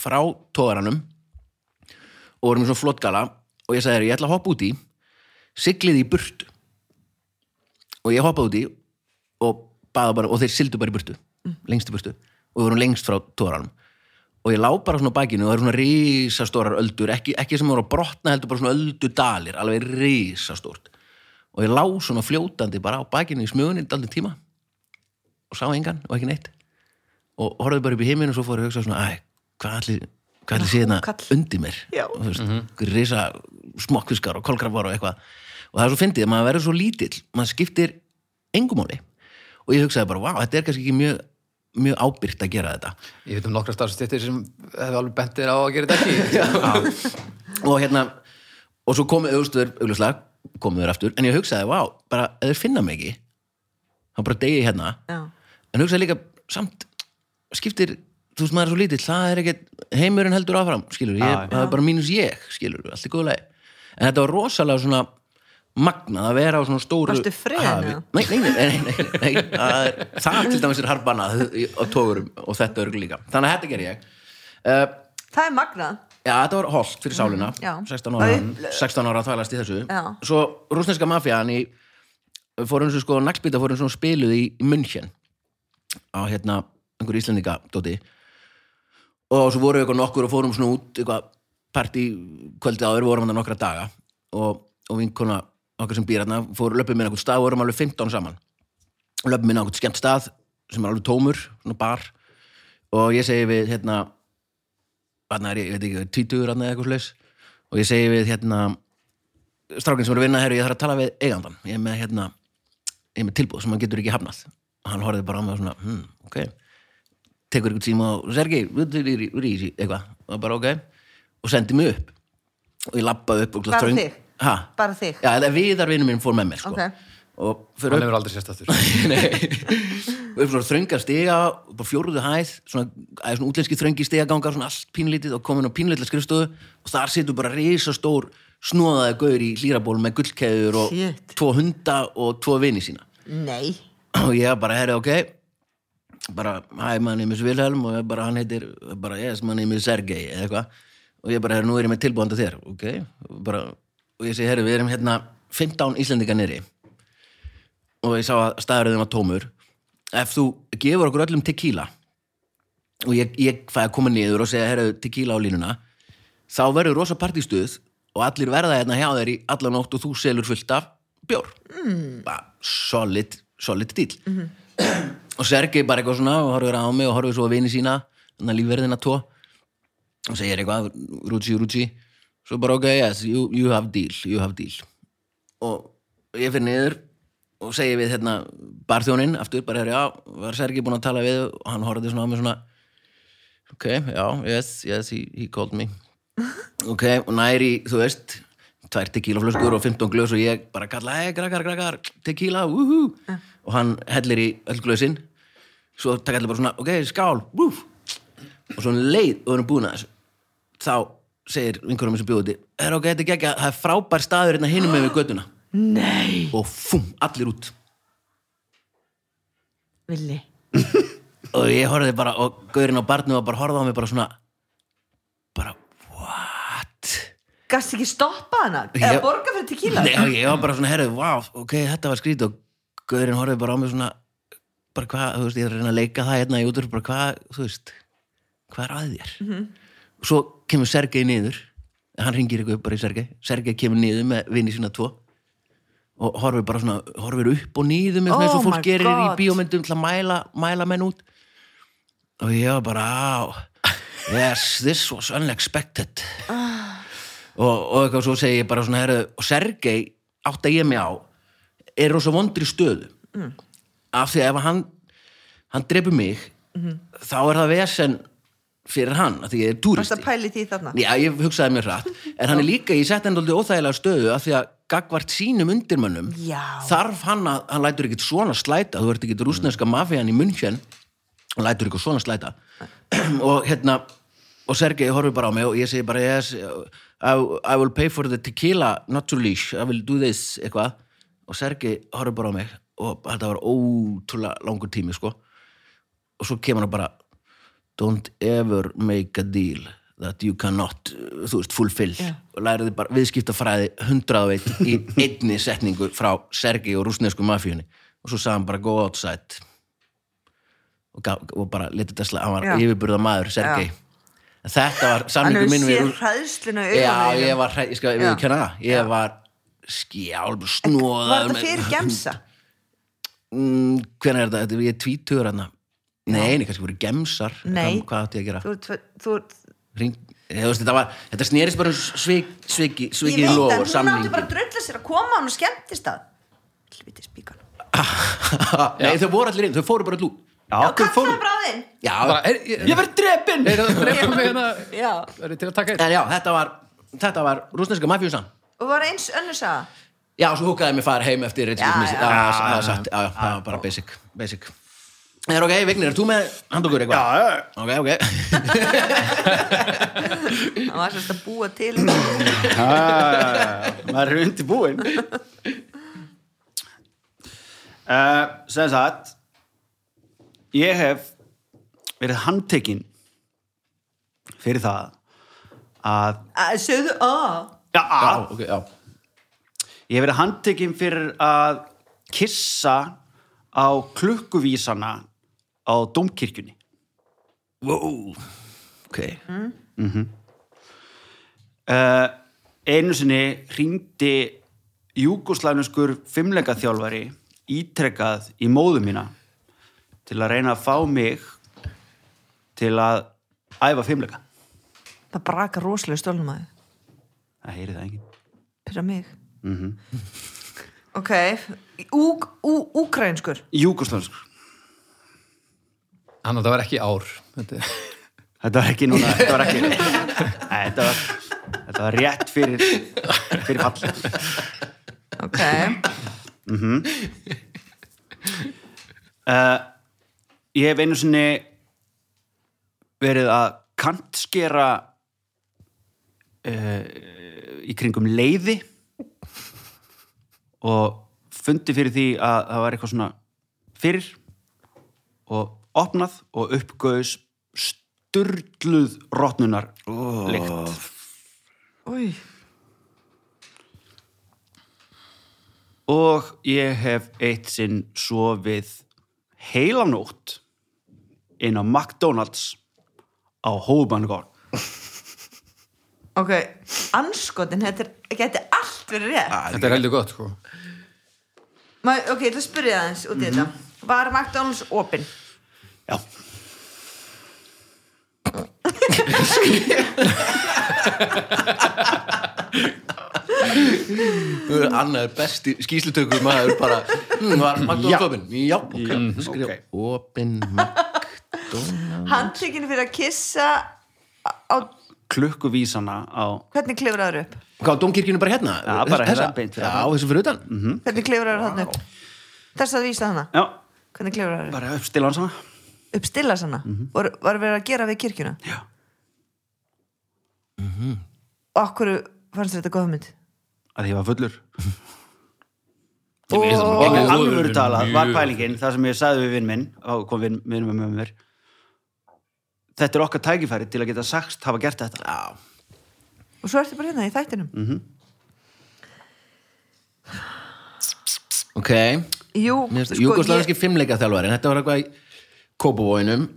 frá tóðaranum og vorum í svona flottgala og ég sagði þér, ég ætla að hoppa út í siglið í burtu og ég hoppaði út í og, baða bara, og þeir sildu bara í burtu lengst í burtu og við vorum lengst frá tóranum og ég lá bara svona á bakinu og það eru svona risastórar öldur ekki, ekki sem voru að brotna heldur bara svona öldudalir alveg risastórt og ég lá svona fljótandi bara á bakinu í smugunni daldið tíma og sá engan og ekki neitt og horfði bara upp í heiminn og svo fór ég að hugsa svona æ, hvað allir, hvað allir sé hérna
húkall.
undir mér
Já.
og þú veist, mm risa smokkfiskar og kolkrafar og eitthvað og það er svo fyndið, að maður verður svo lítill maður skiptir engumáli og ég hugsaði bara, vá, þetta er kannski ekki mjög mjög ábyrgt að gera þetta
Ég veit um nokkra starfstittir sem hefur alveg bent þér á að gera þetta ekki.
og hérna, og svo komu auðstuður, auðvitað, komu þurr aftur en ég hugsaði, vá, bara, ef þeir finna mig ekki þá bara degi ég hérna
Já,
en hugsaði líka, samt skiptir, þú veist, maður er svo lítill það er ekkert, heimurinn heldur áfram skilur, ég,
Já, já.
það er bara mínus ég, skilur allt er góðlega, en þetta var rosalega svona magnað að vera á svona stóru
Varstu friðin,
hafi.
eða?
nei, nei, nei, nei, nei, nei, nei það, er, það til dæmis er harbanað í- á tófurum og þetta örg líka þannig að þetta ger ég uh,
það er magnað
Já, þetta var holdt fyrir sálina
Mhm, já.
16 ára,
Það upplö-
16 ára að þvælast í þessu
Já.
Svo rúsneska mafían í fórum svo sko, naglbýta fórum svo spiluð í, í München á hérna, einhver íslendinga dóti og svo voru eitthvað nokkur og fórum svona út eitthvað partí kvöldið áður vorum hann nokkra daga og, og vinkona okkar sem býr hérna fór löpum minn eitthvað stað, vorum alveg 15 saman löpum minn eitthvað skemmt stað sem er alveg tómur, svona bar og ég segi við hérna hann er, ég veit ekki, tvítugur hann eða eitthvað slags og ég segi við hérna strákinn sem er að vinna herru, ég þarf að tala við eigandan, ég er með hérna ég er með tilbúð sem hann getur ekki hafnað og "Hmm, hann horfði bara á mig og svona, hm, ok tekur ykkur tíma og Sergei, við erum í þessi eitthvað og bara ok og sendi mig upp og ég labbaði upp og
Bara
þröng-
þig?
ha?
Bara þig?
já, eða viðarvinur minn fór með mér sko.
Ok.
og fyrir
Hann hefur aldrei sérst aftur
Nei. og upp svona þröngar stiga og bara fjóruðu hæð svona, að svona útlenski þröngi stiga gangar svona allt pínlítið og komin á pínlítið skrifstofu og þar situr bara risastór snóðaði gaur í hlýraból með gullkeður og
Shit.
tvo hunda og tvo vini sína
Nei
og ég bara, herri, ok bara, hæ, my name is Wilhelm og ég bara, hann heitir, bara, yes, my name is Sergei eða eitthvað, og ég bara, herri, nú er ég með tilbúðan til þér, ok, og bara og ég segi, herri, við erum hérna 15 Íslendinga nýri og ég sá að staðurðum var tómur ef þú gefur okkur öllum tequila og ég, ég fæ að koma niður og segja, herri, tequila á línuna þá verður rosa partístuð og allir verða hérna hjá þér í allan nótt og þú selur fullt af bjór mm. bara solid, solid deal og Sergei bara eitthvað svona og horfir á mig og horfir svo að vini sína þannig að lífverðina tvo og segir eitthvað, rútsi, rútsi svo bara ok, yes, you, you have deal you have deal og ég fyrir niður og segi við hérna barþjóninn aftur, bara er já, var Sergei búinn að tala við og hann horfði svona á mig svona ok, já, yes, yes, he, he called me ok, og næri, þú veist tvær tequilaflöskur og 15 glös og ég bara kalla, hei, grakar, grakar, tequila, woohoo og hann hellir í öll glösin svo taka allir bara svona, ok, skál, woof og svo um leið og við erum búin að þessu þá segir vinkurum sem bjóði er ok, þetta er gekkja, það er frábær staður hérna hinum með við göttuna
Nei
og fum, allir út
Villi
og ég horfði bara, og gaurinn á barnu og bara horfði á mig bara svona bara, what?
Gast ekki stoppa hana? Eða
Ég-
borga fyrir tequila?
Nei, og ég var bara svona, herrðu, vá, ok, þetta var skrítið og Guðurinn horfið bara á mig svona bara hvað, þú veist, ég er að reyna að leika það hérna í útur, bara hvað, þú veist hvað er að þér?
Mhm.
Mm Svo kemur Sergei niður hann ringir eitthvað upp bara í Sergei Sergei kemur niður með vini sína tvo og horfir bara svona, horfir upp og niður með svona eins
Oh
og
my
fólk gerir í
God.
bíómyndum til að mæla, mæla menn út og ég var bara, á yes, this was unexpected og, og eitthvað svo segi ég bara svona heru, og Sergei átt að ég mig á er rosa vondri stöðu af því að ef hann hann dreipur mig þá er það vesen fyrir hann af því ég er
Varst
túristi
að pæli því þarna?
Já, ég hugsaði mér hratt en hann er líka, ég setti hann aldrei óþægilega stöðu af því að gagvart sínum undirmönnum
Já.
þarf hann að, hann lætur ekkit svona slæta þú ert ekkit rúsneska mafían í munnkjön og lætur ekkit svona slæta og hérna og Sergei horfir bara á mig og ég segi bara yes, I, I will pay for the tequila not to leash, I will do this eitthvað og Sergei horfir bara á mig og þetta var ótrúlega langur tími sko og svo kemur hann bara don't ever make a deal that you cannot, uh, þú veist, fulfill og læriði bara viðskiptafræði 101 í einni setningu frá Sergi og rúsnesku mafíunni og svo sagði hann bara go outside og, gaf, og bara leti Tesla, hann var
Já.
yfirburða maður Sergi, en þetta var
Hann
samningu
hefur
minn við
séð
rúss-
hræðsluna í
Já,
augunum.
ég var, hræ- ég skal
Já.
viðurkenna það ég var skjálp, snóðaður
Var þetta
með-
fyrir gemsa?
mm, hvernig er þetta, þetta ég er tvítugur hann nei, nei, kannski voru gemsar
Nei.
Hvað- hvað átti ég að gera
Þú, þú, þú,
Ring, ég, veist, þetta, var, þetta snerist bara um svik, sviki,
ég
svikið
veit að
lof
hún átti
samningi
bara að drölla sér að koma hann og skemmtist það Hlviti spíkan
Nei, þau voru allir inn, þau fóru bara allú
Já,
þau
kallaði
fóru.
bara á þinn
Já,
Bara, er,
Ég verð drepin!
er það að drepa mig hérna
Já.
Er það til að taka eitt?
en já, þetta var þetta var rúsneska mafjúsan
Og var eins önnur saga
Já, svo húkaði mér far heim eftir
Já,
reynslífmissi
já.
Já, já, það var satt, já, já, það var bara basic, basic. Er ok, Vignir, er þú með handokur eitthvað?
Já, já.
Ok, ok
Það var sérst að búa til Nei,
Já, já, já, já, maður er undirbúin uh, sem sagt ég hef verið handtekinn fyrir það að,
Sögðu, á
já, að
Já, ok, já
ég hef verið handtekinn fyrir að kissa á klukkuvísana á domkirkjunni
Wow, ok
uh, einu sinni hringdi júkoslæfnuskur fimmleika þjálfari ítrekkað í móðu mína til að reyna að fá mig til að æfa fimmleika
Það braka rosalega stólnum að
það heyri það enginn
Pyrra mig
Mhm.
Ok Úk, ú, Úkrainskur
júkoslæfnuskur
Hann þetta var ekki ár Þetta er
Þetta var ekki núna, þetta var ekki Nei, þetta var, þetta var rétt fyrir fyrir fall
ok
uh, Ég hef einu sinni verið að kantskera uh, í kringum leiði og fundi fyrir því að það var eitthvað svona fyrir og opnað og uppgöðs sturluð rotnunar oh. lykt
Új,
og ég hef eitt sinn sofið heilanótt inn á McDonalds á Hóbanagorn
ok, anskotin þetta er- geti allt verið
Ah.
rétt
Þetta er heldur gott, sko.
Ma, ok, ég ætla að spyrja það eins
Mhm.
út í þetta var McDonalds opinn?
Já,
Anna er besti skýslutöku maður bara, hm, var
Já.
McDonald's opinn Já, ok,
Mm,
skrifa
ok.
opinn McDonald's
handtökinu fyrir að kissa á, á-
klukkuvísana á
hvernig klifraður upp?
Hvað, domkirkjunni bara hérna?
Já, bara
Þessa?
hérna, beint fyrir
Já,
aftan.
þessu fyrir utan
hvernig klifraður hann upp? þess að vísa hana
Já,
hvernig klifraður upp?
bara uppstila hans hana
uppstilla hana?
Mhm.
var, var verið að gera við kirkjuna?
Já.
og okkur fannst þér þetta góð mynd?
að ég var fullur
Ég veist það nú
og oh,
ekki. Þú hefur
alvöru
verið
talað
mjög-
var pælingin það sem ég sagði við vinn minn og kom vinn vinn minn með mér þetta er okkar tækifæri til að geta sagst hafa gert þetta Já.
og svo ertu bara hérna í þættinum
Mhm. Ok,
jú,
sko, júkoslavenski ég... fimmleika þjálfarin Þetta var eitthvað í Kópavóinum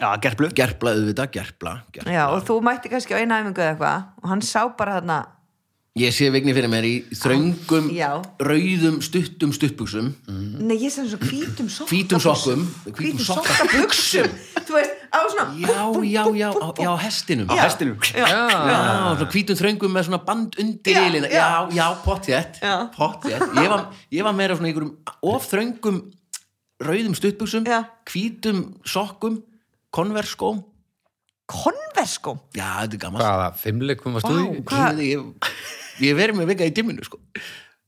Já, gerplu
Gerpla auðvitað, gerpla, gerpla.
já, og þú mætti kannski á eina æfingu eða eitthvað og hann sá bara þarna
Ég sé vigni fyrir mér í þröngum
Já.
Rauðum, stuttum, stuttbuxum
nei, ég sem svo hvítum sokkum
Mhm. Hvítum sokkum
hvítum sokkabuxum þú veist, á svona
Já, já, já, á, já, á hestinum
á hestinu
Já,
Já, svona hvítum þröngum með svona band undir
Já,
ylina
já.
Já, já, pottjætt
Já.
Pottjætt ég, var- ég var meira svona í einhverjum of þröngum rauðum stuttbuxum
Já.
hvítum sokkum konverskóm
konverskum
Já, þetta er gaman
hvaða fimmleikum varst þú í?
Vá.
Ég, ég, ég verið með vika í dimminu sko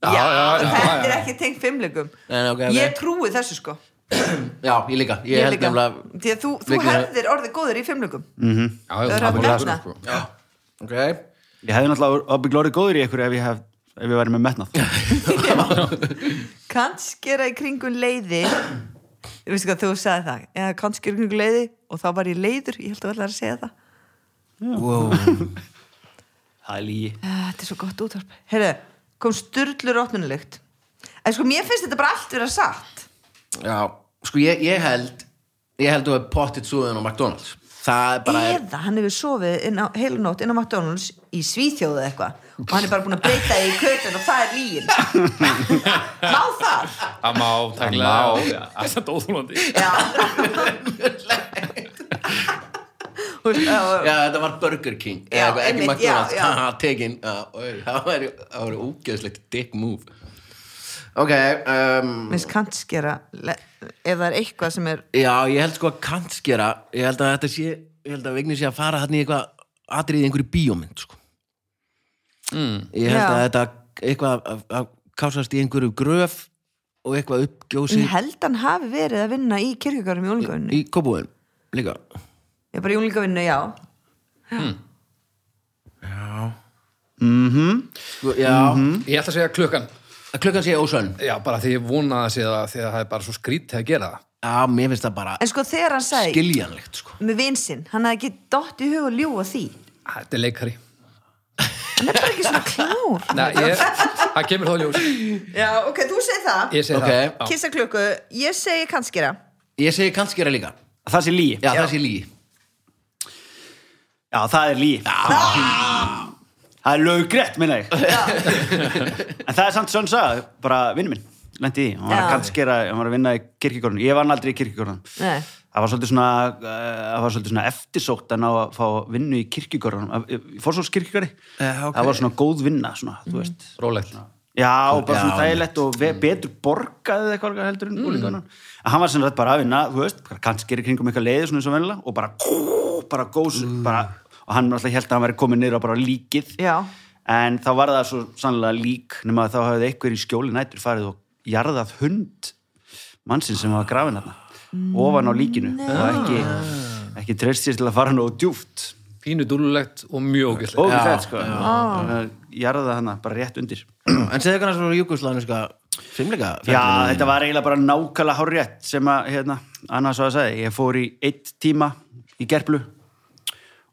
Já, já,
þetta er ekki tengt fimmlegum
Nei, nei, ok, ok.
ég trúi þessu sko
Já, ég líka, ég, held
líka.
nefnilega
Því að þú, þú
Líka-
hefðir orðið góður í fimmlegum
Já, já,
Þú
það
hefur
var
haft
það,
metnað.
sko.
Ok
ég hefði náttúrulega ábygglórið góður í ykkur ef ég, hef, ef ég væri með metnað
kannskera í kringum leiði þú veist hvað þú sagði það eða kannskera í kringum leiði og þá var ég leiður ég held að verða að segja það
wow.
það er lígi
Eh, þetta er svo gott útvarp Heyrðu, kom styrlu rótnunulykt en sko mér finnst þetta bara allt vera satt
Já, sko ég, ég held Ég held þú að pottit súðin á McDonalds Það er bara er,
eða hann hefur sofið inn á heilunótt inn á McDonalds í Svíþjóðu eða eitthvað og hann er bara búin að breyta því í kötun og það er líin má það
Það má, takkilega. Það er samt óþúlandi.
Þú veist, já,
Já, þetta var Burger King
Já,
Eða eitthvað, ekki
einmitt, já,
McDonalds
já.
Haha, tekin Já, oj, Það væri það væri ógeðslegt dick move Ok um,
minnst kantskera le- ef það er eitthvað sem er
Já, ég held sko að kantskera Ég held að þetta sé Ég held að Vigni sé að fara þarna í eitthvað Atriði í einhverju bíómynd sko. mm. Ég held
Já.
að þetta Eitthvað að, að kásast í einhverju gröf Og eitthvað uppgjósi
ég held hann hafi verið að vinna í kirkjögarum í úlingavinnu,
Í kópúin Líka
ég er bara í úlingavinnu, já
sko, Já
Ég ætla að segja klukkan.
Að Klukkan sé ósönn
Já, bara því ég vona að segja það, því að það er bara svo skrítið að gera það.
Já, mér finnst það bara
en sko þegar hann sagði
skiljanlegt sko.
með vinsinn, hann hafði ekki dott í hug og ljúa því
Þetta er leikari.
hann er bara ekki svona klár
Nei, ég, það kemur þá í ljós.
já, ok, þú segir það
Ég segi
Ok.
það. Já.
kissa klukku, ég segi kantskera
Ég segi kantskera líka
það sé lígi
Já, það sé lígi
Já, það er líf Það er löggrétt, minna ég En það er samt svona sagði, bara vinnu minn Lendi í, því. hann var
Já.
að kannskera, hann var að vinna í kirkikórnum Ég vann aldrei í kirkikórnum
Nei.
Það var svolítið svona, uh, það var svolítið svona eftirsótt að ná að fá vinnu í kirkikórnum Í fórsólskirkikóri
Eh, ok.
Það var svona góð vinna, svona, þú veist
Rólegt.
Já, og bara
Já, Mm.
svona þægilegt og ve- betur borgaði eða eitthvað heldur en úlingarnar. En hann var sem rætt bara að vinna, þú veist, kannski er í kringum eitthvað leiði svona eins og vennilega og bara bara góðs
Mm.
bara, og hann alltaf held að hann væri komin niður á bara líkið
Já.
en þá var það svo sannlega lík nema að þá hafði einhver í skjóli nættur farið og jarðað hund mannsinn sem var grafin hann ofan á líkinu og ekki,
Ah.
ekki treyst sér til að fara nógu djúft
Pínu dúlulegt og mjög ógæslega.
og þetta sko Þannig að jarða hann bara rétt undir
En segðu kannars frá júkuslanuska fimmleika
Já,
ferlinum.
þetta var eiginlega bara nákvæmlega hárétt sem að, hérna, annars var að segja, ég fór í eitt tíma í gerplu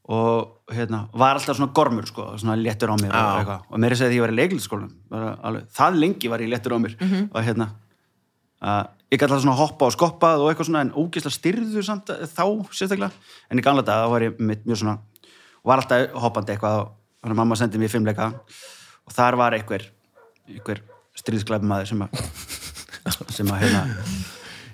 og hérna, var alltaf svona gormur, sko, svona léttur á mér og eitthvað, og meira segði því ég var í leiklisskólanum, bara alveg, það lengi var ég léttur á mér og hérna, að ég gæti alltaf svona hoppa og skoppað og eitthvað svona en ógeðslega styrðu samt eh, þá sérstaklega, en í gamla daga var ég mitt mjög svona, var alltaf hoppandi eitthvað og þannig að mamma sendi mér fimmleika og þar var einhver, einhver stríðsklæfmaður sem að sem að hérna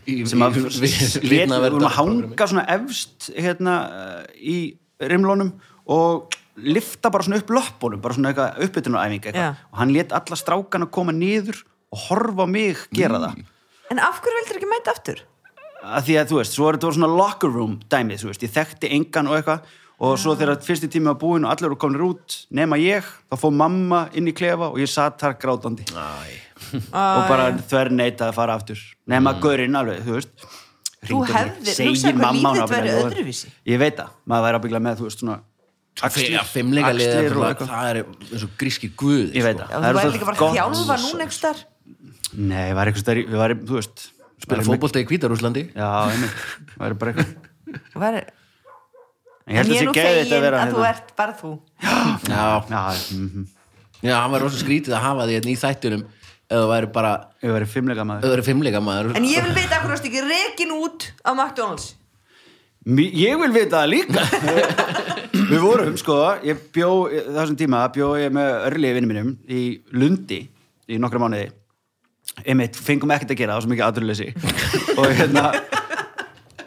Í-
sem að
í-
lét-
við-
við
vitna verða-
vorum að hanga svona efst hérna eh, í rimlónum og lifta bara svona upp löppunum, bara svona eitthvað uppbytunaræfing eitthvað
Já.
og hann let alla strákana koma niður og horfa á mig gera
En af hverju vildur ekki mæta aftur?
það að því að þú veist, svo er þetta voru svona locker room dæmið, þú veist, ég þekkti engan og eitthvað og svo þegar fyrsti tími var búinn og allir eru komin út, nema ég þá fóð mamma inn í klefa og ég satt þar grátandi
Æ.
og bara þver neita að fara aftur nema mm. gaurinn alveg, þú veist
Þú
hringdi
hefðir-
mig,
hugsaðu
segir
hvað
mamma
lífið
hann
væri
ábyggilega,
öðruvísi.
ég veit það, maður væri ábygglega með þú veist svona
Þegar fimmleika liða
axlir og
það
eitthvað
það er eins og gríski sko. guð
Ég veit
Já,
það,
þú
er
væri
svo
líka bara
gott-
þjálfa núna einhvers þar
Nei, var eitthvað stærri, við varum, þú veist
Spila
væri
fótbolta í Hvítarúslandi
með- Já, einmitt, væri bara eitthvað
væri...
En ég held að
En ég er
þessi
nú
geði þetta að
fegin
vera
að þú
hérna.
ert bara þú
Já,
Já, mhm.
já, hann var rosa skrítið að hafa því hérna í þættunum eða það væri bara
ég væri fimmleika maður
öðru fimmleika maður
En ég vil vita af hverju varst ekki rekin út á McDonalds
Mí- Ég vil vita það líka Við vorum, sko ég bjó, þessum tíma bjó ég með örlíði vinnum mínum í Lundi í nokkra mánuði einmitt, fengum ekkert að gera það var svo mikið aðurleysi og hérna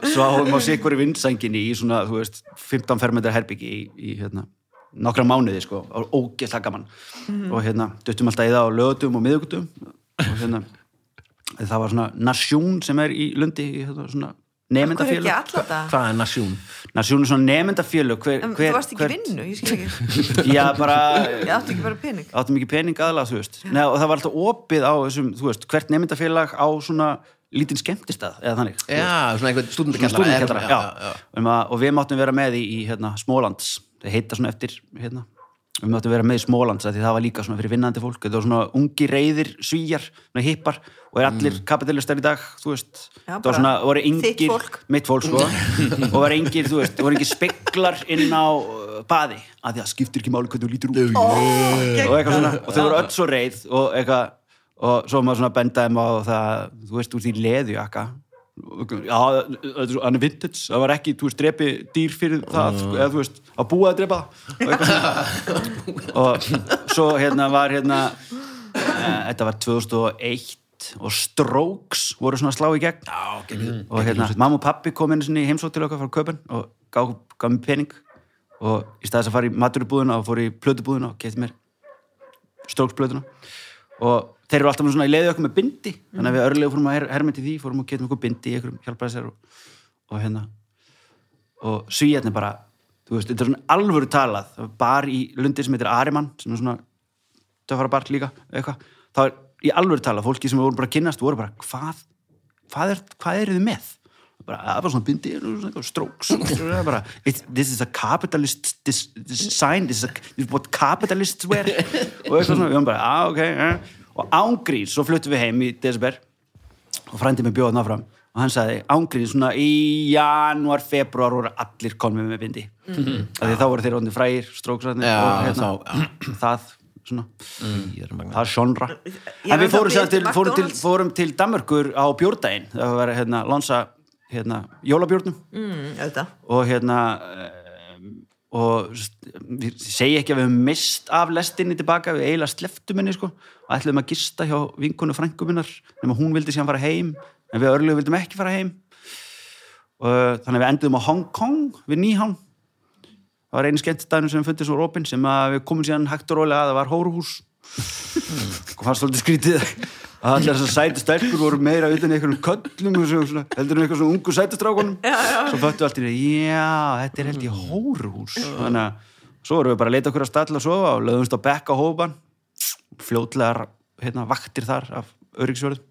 sváum á sikkur í vinsanginni í svona, þú veist, 15 fermetra herbyggi í, í hérna, nokkra mánuði sko, og ógeðslega gaman og hérna, duttum alltaf í það á lögutum og miðugutum og hérna það var svona nasjón sem er í Lundi í hérna, svona
Af Hverju ekki
nemyndafélag
alla það?
Hvað er nasjón?
Nasjón er svona nemyndafélög hver,
En
hver,
Þú varst ekki í vinnu, ég skil ekki
vinnu Já, bara
Ég átti ekki bara pening
áttum ekki pening aðlega, þú veist Nei, og það var alltaf opið á þessum, þú veist hvert nemyndafélag á svona lítinn skemmtistað eða þannig þú veist.
Já, svona einhvern
Svona
stúdendakjallara
stúdintekjallara,
eða-
já, Um að, og við máttum vera með í, í hérna, Smólands það heita svona eftir hérna. við máttum vera með í Smólands af því það var líka svona fyrir vinnandi fólk þetta var svona ungi reyðir, svíjar, svona hippar og er allir kapitalistar í dag þú veist,
Já,
það
bara
var svona, voru
þitt
engir
fólk.
mitt fólk sko og var engir, þú veist, voru engir speklar inn á uh, baði af því að skiptir ekki máli hvernig þú lítur út
já.
og eitthvað svona, og þau voru öll svo reið og eitthvað, og svo maður svona bendaði maður á það, þú veist, úr því leðu jakka, já, þetta er svo- hann er vintage, það var ekki, þú veist, drepi dýr fyrir það, sko, eða þú veist að búa að drepa það og, eitthvað svona. og svo hérna var hérna, e, þetta var 2001 og Strokes voru svona að slá í gegn
Já, geggjum
og hérna, mamma og pappi kom inn sinni heimsótt til okkar frá köpun og gaf, gaf mér pening og í staðis að fara í maturubúðuna og fór í plötubúðuna og geti mér stróksplötuna og þeir eru alltaf með svona í leiði okkur með bindi þannig að við örlega fórum að her, hermið til því fórum að geta mér okkur bindi í einhverjum hjálpaði sér og, og hérna og svíjarnir bara, þú veist, þetta er svona alvöru talað, það var bar í lundi sem heitir Ariman, sem er svona töffara bar líka, eitthvað þá er í alvöru talað, fólki sem voru bara að kynnast voru bara, hvað, hvað er hvað eru þið með? bara, það er bara svona bindi og svona eitthvað strokes og það er bara, "It's- this is a capitalist this, this sign, this is, a, this is what capitalists wear og eitthvað svona, við varum bara, ah, ok eh. og ángrís, svo fluttum við heim í Desber og frændi mig bjóðna fram og hann sagði, ángrið svona í janúar, februar voru allir komið með bindi mm því þá voru þeir orðin frægir, stróksræðni
Mhm. Já,
og hérna,
þá, já.
það svona,
magnað.
það er sjónra
Ég
en við
veit að
fórum,
við
sem sagt til, fórum, til,
McDonald's.
fórum til Danmörkur á bjórdaginn, það var hérna lansa, hérna, jólabjórnum
Mm, auðvitað
og hérna um, og st- við segi ekki að við höfum mist af lestinni tilbaka, við eiginlega sleftum henni sko, og ætluðum að gista hjá vinkonu frænkuminnar, nema hún vildi síðan fara heim en við örlugum vildum ekki fara heim og þannig að við enduðum á Hong Kong við Nýhán það var einu skemmtistæðinu sem fundið svo opinn sem að við komum síðan hægt og rólega að það var hóruhús og fannst Hmm. svolítið skrítið að allir þessar sæti stelkur voru meira utan í einhverjum köllum og svo- svona, heldur en eitthvað svona ungu sætistrákunum svo föttu allt í því, já, þetta er held í hóruhús þannig að svo vorum við bara að leita okkur að stalla að sofa og löðumst á bekk á hópan fljótlegar hérna, vaktir þar af öryggsvörðum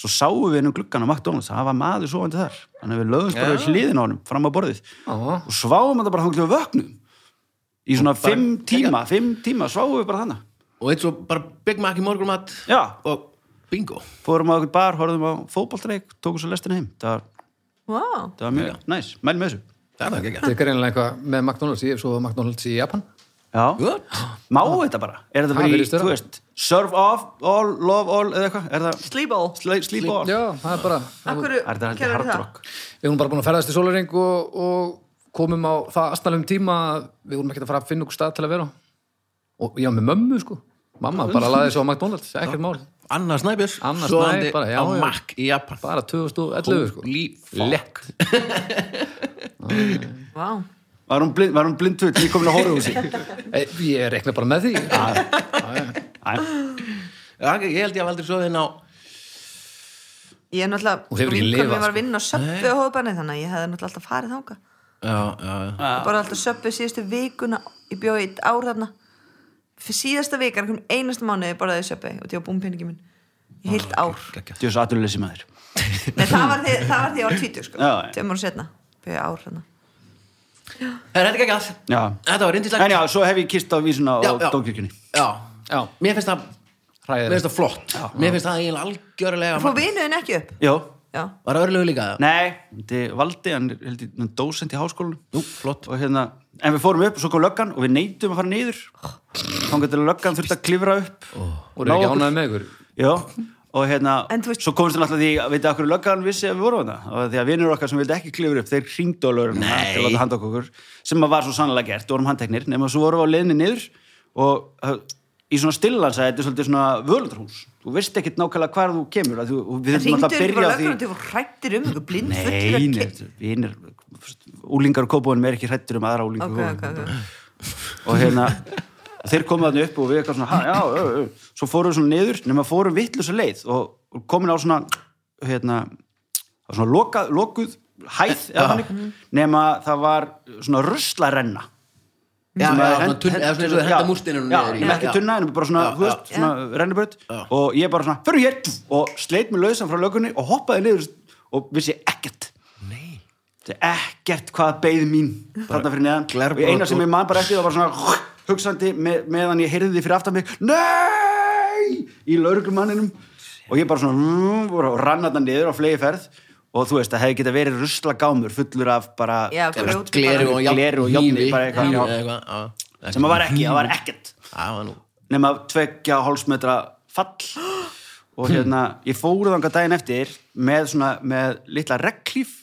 svo sáum við innum gluggan á McDonalds það var maður sofandi þar þannig að við löðumst bara við hliðin á honum fram á borðið
Já.
og sváum þetta bara þannig að vöknum í svona fimm tíma, fimm tíma sváum við bara þannig
og eitt svo bara Big Mac í morgunmat
Já.
og bingo
fórum á eitthvað bar, horfðum á fótboltreik tókum svo lestina heim, það var,
Vá.
það var mjög næs, mæl með þessu
það er það ekki
Þetta er greinilega eitthvað með McDonalds, ég hef svo McDonalds í Japan.
já,
What?
má þetta bara er þetta
Það
bara í,
virðist vera.
þú veist, serve off all, love all, eða eitthvað er það,
Sleepall
sleep, sleep all
Já, það er bara,
Akkur,
er þetta haldið hardrock
við vorum bara búin að ferðast í Solaring og, og komum á það astanlegum tíma að við vorum ekkert að fara að finna okkur stað til að vera á. og ég var með mömmu sko mamma bara laði þessu á McDonalds, ekkert mál
Anna Snæbjörns
Anna
sofandi
Snæ, bara, já,
á
já.
Mac í Japan
bara 2011 sko
Lekk
Vá,
var hún blind, var hún blind tvöld, ég komin að hóra úr sig
Eh, ég reikna bara með því
Ég held ég að aldrei svo þinn á
ég er náttúrulega
Hún hefur ekki
vinkona mín
lifað, sko.
var að vinna á söppu á hóðbanni þannig að ég hefði náttúrulega alltaf farið þánga
Já, já, já
Ah.
bara alltaf söppu síðustu vikuna ég bjóði eitt ár þarna fyrir síðasta vikan, einhvern einasta mánuði borðaði ég söppu og ég var búin peningi minn í heilt
Ah,
ár
þú veist, aturleysi maður
Nei, það var því það var því ég var tvítur sko,
Já, já.
tveim ára setna bjóði ár þarna
Það er ekki að
já,
Þetta var
en
reyndislegt
já, svo hef ég kist á vísuna á
Já, já.
dókirkjunni
Já,
já,
mér finnst það Mér
hræðið
finnst það flott Mér finnst það eiginlega algjörlega
fór vinuðin ekki upp
já,
já,
Var örlegu líka
nei, þetta er Valdi hann er held ég dósend í háskólanum
Jú, flott
og hérna, en við fórum upp og svo kom löggan og við neytum að fara niður þá getur löggan þurft að klifra upp
og eru ekki ánæði með ykkur
já, og hérna,
En þú veist-
svo komst við náttúrulega því að veit að okkur löggan vissi að við vorum þetta og því að vinur okkar sem vildi ekki klifra upp, þeir hringdu á lögurinn til að láta handa okkur, sem að var svo sannlega gert, við vorum handteknir, nema svo vorum við á leiðinni niður og uh, í svona stillan sagði þetta er svolítið svona völundrús þú veist ekkit nákvæmlega hvar þú kemur að þú, og við þurfum
ringdu
alltaf að
ykkur
byrja
bara
á því
löggur og þú hrættir um ykkur blind
Nei, nei, vinir, úlingar og kópónum er ekki hrættur um aðra úlingar
ok,
okay,
ok, ok
og hérna þeir komu þarna upp og við eitthvað svona "Ha, já, ö, ö. svo fórum við svona niður nema fórum vittlusa leið og og komin á svona hérna á svona loka, lokuð hæð eða hannig nema það var svona ruslarenna
Já, já,
sem að
svona
hent-
tunn- eða svona eins og þeir
já,
henda múrstinunum
já,
niður í.
já, ekki
Já.
tunna, en bara svona,
Já,
þú veist,
já.
svona rennibraut og ég bara svona, fyrir hér og sleit mig lausan frá lögunni og hoppaði niður og vissi ekkert
Nei
Þetta er ekkert hvað beið mín þarna fyrir neðan og
glerbrot
eina sem
úr-
ég man bara eftir það var svona hugsandi með, meðan ég heyrði því fyrir aftan mig Nei! í lauruglumanninum og ég bara svona mm, og rann þarna niður á flegi ferð og þú veist, það hefði geta verið rusla gámur fullur af bara
já, grjót
Gleri
bara.
og jafn
Gleri og jafn-
hýði,
bara eitthvað,
hýði
já.
eða eitthvað, já.
sem að var ekki, það var ekkert
Það var nú
nema tvekja hálsmetra fall og hérna, ég fóru þangað daginn eftir með svona, með litla reglíf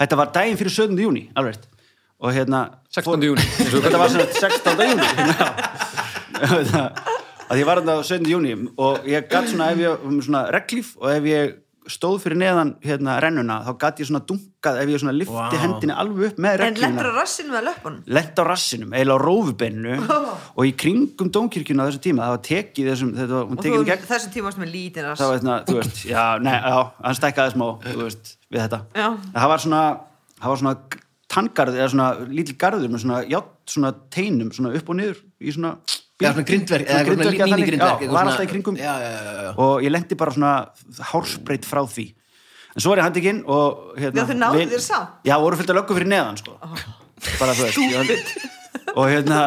þetta var daginn fyrir 17. júni, alveg rétt. og hérna
16. júni
þetta var sem sagt 16. júni að Hérna, ég var þetta á 17. júni og ég gatt svona ef ég um svona reglíf og ef ég stóð fyrir neðan hérna rennuna þá gatt ég svona dunkað ef ég svona lifti
Vá.
hendinni alveg upp með
en
reglífuna
lettur á rassinu með löpunum
lent á rassinum, eiginlega á rófubennu og í kringum dómkirkjuna á þessu tíma það var tekið þessum, þetta var, hún
og þú
tekið gegn
þessum tíma varst með lítinn rass
það var þetta, þú veist, já, nei, já, hann stækkaði smá, þú veist, við þetta
Já.
En það var svona, það var svona tangarð, eða svona lítil garður með svona, já, svona teinum, svona upp og niður í svona,
Já, svona grindverk, eða svona
grindverk,
míni
þannig,
grindverk
já, var alltaf í kringum
Já, já, já, já
og ég lendi bara svona hársbreyt frá því en svo var ég handikinn og hérna,
Já, þau náðu
vin-
þér samt.
já, voru fullt að löggu fyrir neðan sko. bara þú veist ég- og hérna,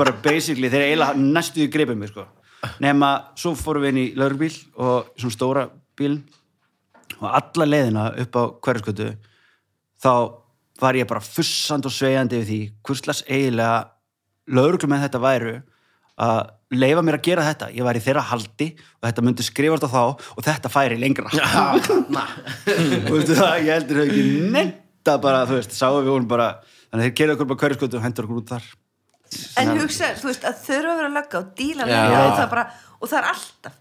bara basically þeir eiginlega næstuði greipið mig sko. nema, svo fórum við inn í laurbíl og svona stóra bíl og alla leiðina upp á hverjaskötu þá var ég bara fussand og sveigjandi yfir því hverslas eiginlega lauruglum með þetta væru að leifa mér að gera þetta, ég var í þeirra haldi og þetta myndi skrifast á þá og þetta færi lengra og veistu það, ég heldur þau ekki netta bara, þú veist, sáum við hún bara þannig að þeir kerðu okkur bara hverju skotu og hendur okkur út þar
En hugsa, þú veist, að þurfa að vera að lögga og díla
Já. Mm.
með það, það bara, og það er alltaf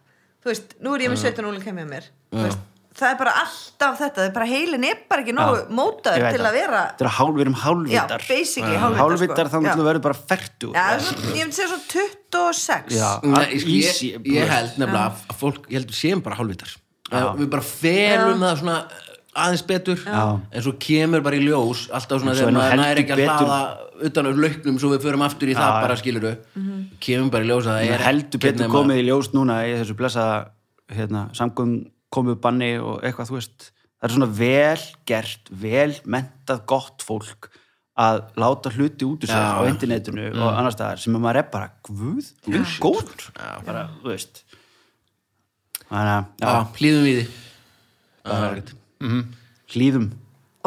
þú veist, nú er ég með 17 úlingar með mér þú veist, það er bara alltaf þetta, það er bara heilin er bara ekki nógu
Ég
mótaður
veit
til að vera
Þetta er hálf, við erum hálfvitar
Já, basically
Já.
hálfvitar,
Hálfvitar
sko.
þá
Já.
náttúrulega verður bara fertu
Já, það er svo, ég myndi segja svo 26
Nei, sko, ég, ég, ég held nefnilega að- að fólk, ég held við séum bara hálfvitar Að við bara felum það svona eh, aðeins betur en svo kemur bara í ljós alltaf svona
En svo
þegar
er nú
maður
heldur
næri ekki að
betur-
hlaða utan af lauknum svo við förum aftur í það
Já,
bara
já.
skilur við kemur bara í ljós að það er
heldur
ekki
betur
nema-
komið í ljós núna í þessu blessaða hérna, samgöng komið banni og eitthvað þú veist það er svona vel gert, vel mentað gott fólk að láta hluti út úr sér
Já. Mm.
á internetinu og annars staðar sem að maður er bara guð, guð, góður bara, þú veist þannig að,
Já,
já,
hlýðum við því Ah. Það er ekkert
hlýðum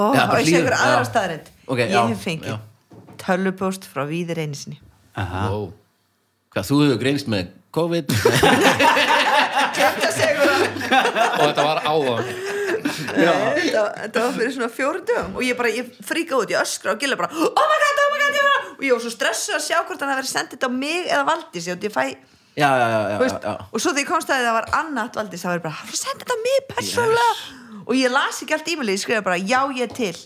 Ó,
Já,
og
bara
ég sé
hlýðum,
ykkur
já.
aðra staðarind
Ok,
Ég
já,
hef fengið
já.
tölvupóst frá víðir einisinni
Wow.
Hvað, þú hefur greinst með COVID?
Þetta segur það
og þetta var áðan
Nei, þetta þetta var fyrir svona fjórum dögum og ég bara, ég fríka út, ég öskra og gilla bara oh my god, oh my god, oh my god og ég var svo stressuð að sjá hvort hann að vera sendið á mig eða Valdís, ég, ég fæ
já, já, já, já,
veist,
já.
og svo þegar ég komst að því það var annað Valdís, það var ég bara, hann var sendið þetta á mig persónulega og ég las ekki allt e-mailið, ég skrifa bara já, ég er til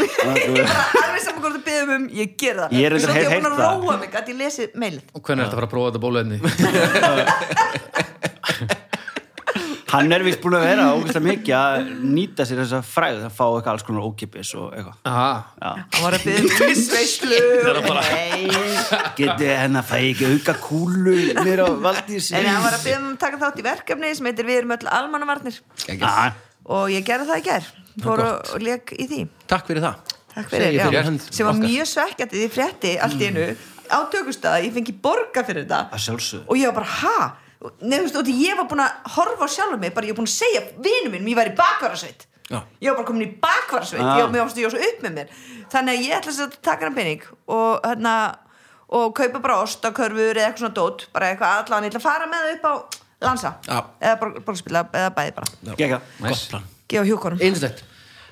Ég bara, alveg saman hvort þú byggðum um, ég ger
Ah,
það
Ég er reyndar
Svo þegar
hef
búin að
heyrt það.
róa mig, að ég lesi mailið
og hvernig er þetta að fara að prófa þetta bóluefni
hann er vist búin að vera ógeðslega mikið að nýta sér þessa fræð að fá eitthvað alls konar ókipis og eitthvað
Aha.
já.
hann var að byggðum um ísveislu nei,
getið henn að fæ ekki auka kúlu mér á Valdís
en hann var að byggðum um að taka þátt í verkefni sem heitir Við erum öll almannavarnir
Ah,
og ég gerði það í gær fór og, og leik í því
Takk fyrir það
Takk fyrir,
Segi
já,
fyrir hönd
sem var
okkar.
mjög svekkjandi því ég frétti allt í einu
Mm.
á tökustada, ég fengi borga fyrir
Að
þetta
sjálfsögðu.
og ég var bara, ha? Nei, þú veist, og því ég var búin að horfa á sjálfum mig bara ég var búin að segja vinum minn, ég var í bakvarasveit
Já. Ah.
ég var bara komin í bakvarasveit
Já.
ég, var- mér varst, ég var svo upp með mér þannig að ég ætla sér að taka hann pening og hérna, og kaupa bara ostakörfur eða eitthvað svona dót, bara eitthvað allan ég ætla að fara með það upp á lansa
Já.
eða bara, bara spila, eða bæði bara
Gekka.
Gott plan
gefa hjúkonum
Einstætt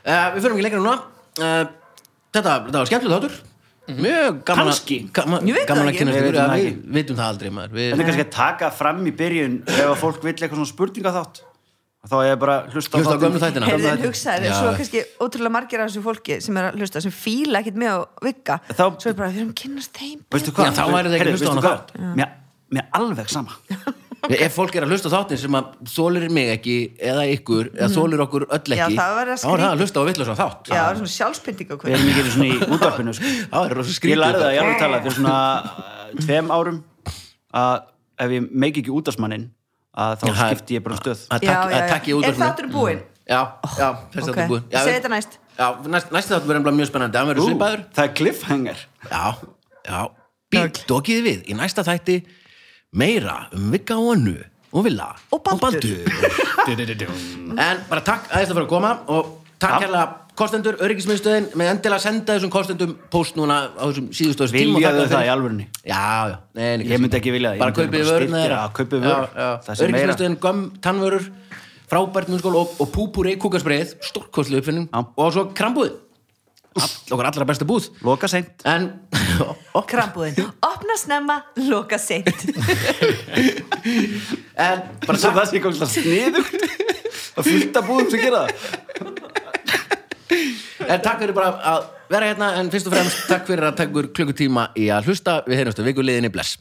uh, Við förum ekki lengra núna uh, þetta, þetta var skemmtileg þáttur Mjög gaman að
Kannski.
gaman,
Mhm. Ég veit það
gaman að
ekki.
kynast
Við
ykkur
vitum
að
það
Við vitum það aldrei maður
Þetta
Við
er kannski að taka fram í byrjun ef að fólk vill eitthvað svona spurninga þátt þá er ég bara að hlusta
Hlusta á
þáttinn.
gömlu þættina.
Gömlu
Heyrðin
þættina.
hugsaði
Hérna, Já.
þeir, svo kannski ótrúlega margir af þessu fólki sem er að hlusta, sem fíla ekkit með að vigga
Þá-
svo er bara, við erum að kynnast þeim
Veistu
Já,
hvað?
þá væri það ekki að
Heyrðu,
hlusta á
veistu
hana
hvað? Mér, mér alveg sama
Ef fólk er að hlusta á þáttin sem að þólir mig ekki eða ykkur, eða þólir okkur öll ekki
Mhm. Já, það væri að
þá er það að
skrýta.
hlusta á vitlaus á þátt
Já, það er svona sjálfspynding
Við
og hvað
erum ekki einu svona í útvarpinu sko.
Það er rosa
Ég
skrýtið
lærði
þetta.
það, ég alveg tala fyrir svona uh, tveim árum að ef ég meik ekki útvarpsmanninn að þá
Já, það-
skipti ég bara um stöð
Að takk- að takk ég út
Er þáttur búinn?
Já, já, þessi þáttur búin
Ég segi þetta næst
Já, næst, næsti þáttur verður nefnilega mjög spennandi Hann verður svipaður
Það er cliffhanger
Já, já, býtt dokiði við í næsta þætti meira um Vigga og Önnu og Villa
Og Baldur.
En bara takk aðeins að fyrir að koma og takk
Já.
hérlega kostendur, öryggismiðstöðin með endilega senda þessum kostendum post núna á þessum síðustöðs tíma og
Viljaðu
þakka
það í
fyrir.
alvörinni
Já, já, nei, nei,
Ég myndi ekki vilja það, ég
Bara
myndi
kaupið
bara
vöruna
styrkja-
þeirra
já, kaupið vörur.
Já, já.
Það sem meira.
Öryggismiðstöðin, göm, tannvörur, frábært munnskóla og, og púpúri kúkarsbreið, stórkostlu uppfinning
Já.
og svo krambúð Okkar allra besta búð
Loka seint
En
Krambúðin, opna snemma, loka seint
En bara
Svo
takk
það sé komst að sniðugt að fylgta búðum sem gera það
En takk fyrir bara að vera hérna En fyrst og fremst takk fyrir að takkur klukkutíma í að hlusta Við heyrjumst að vikuleginni bless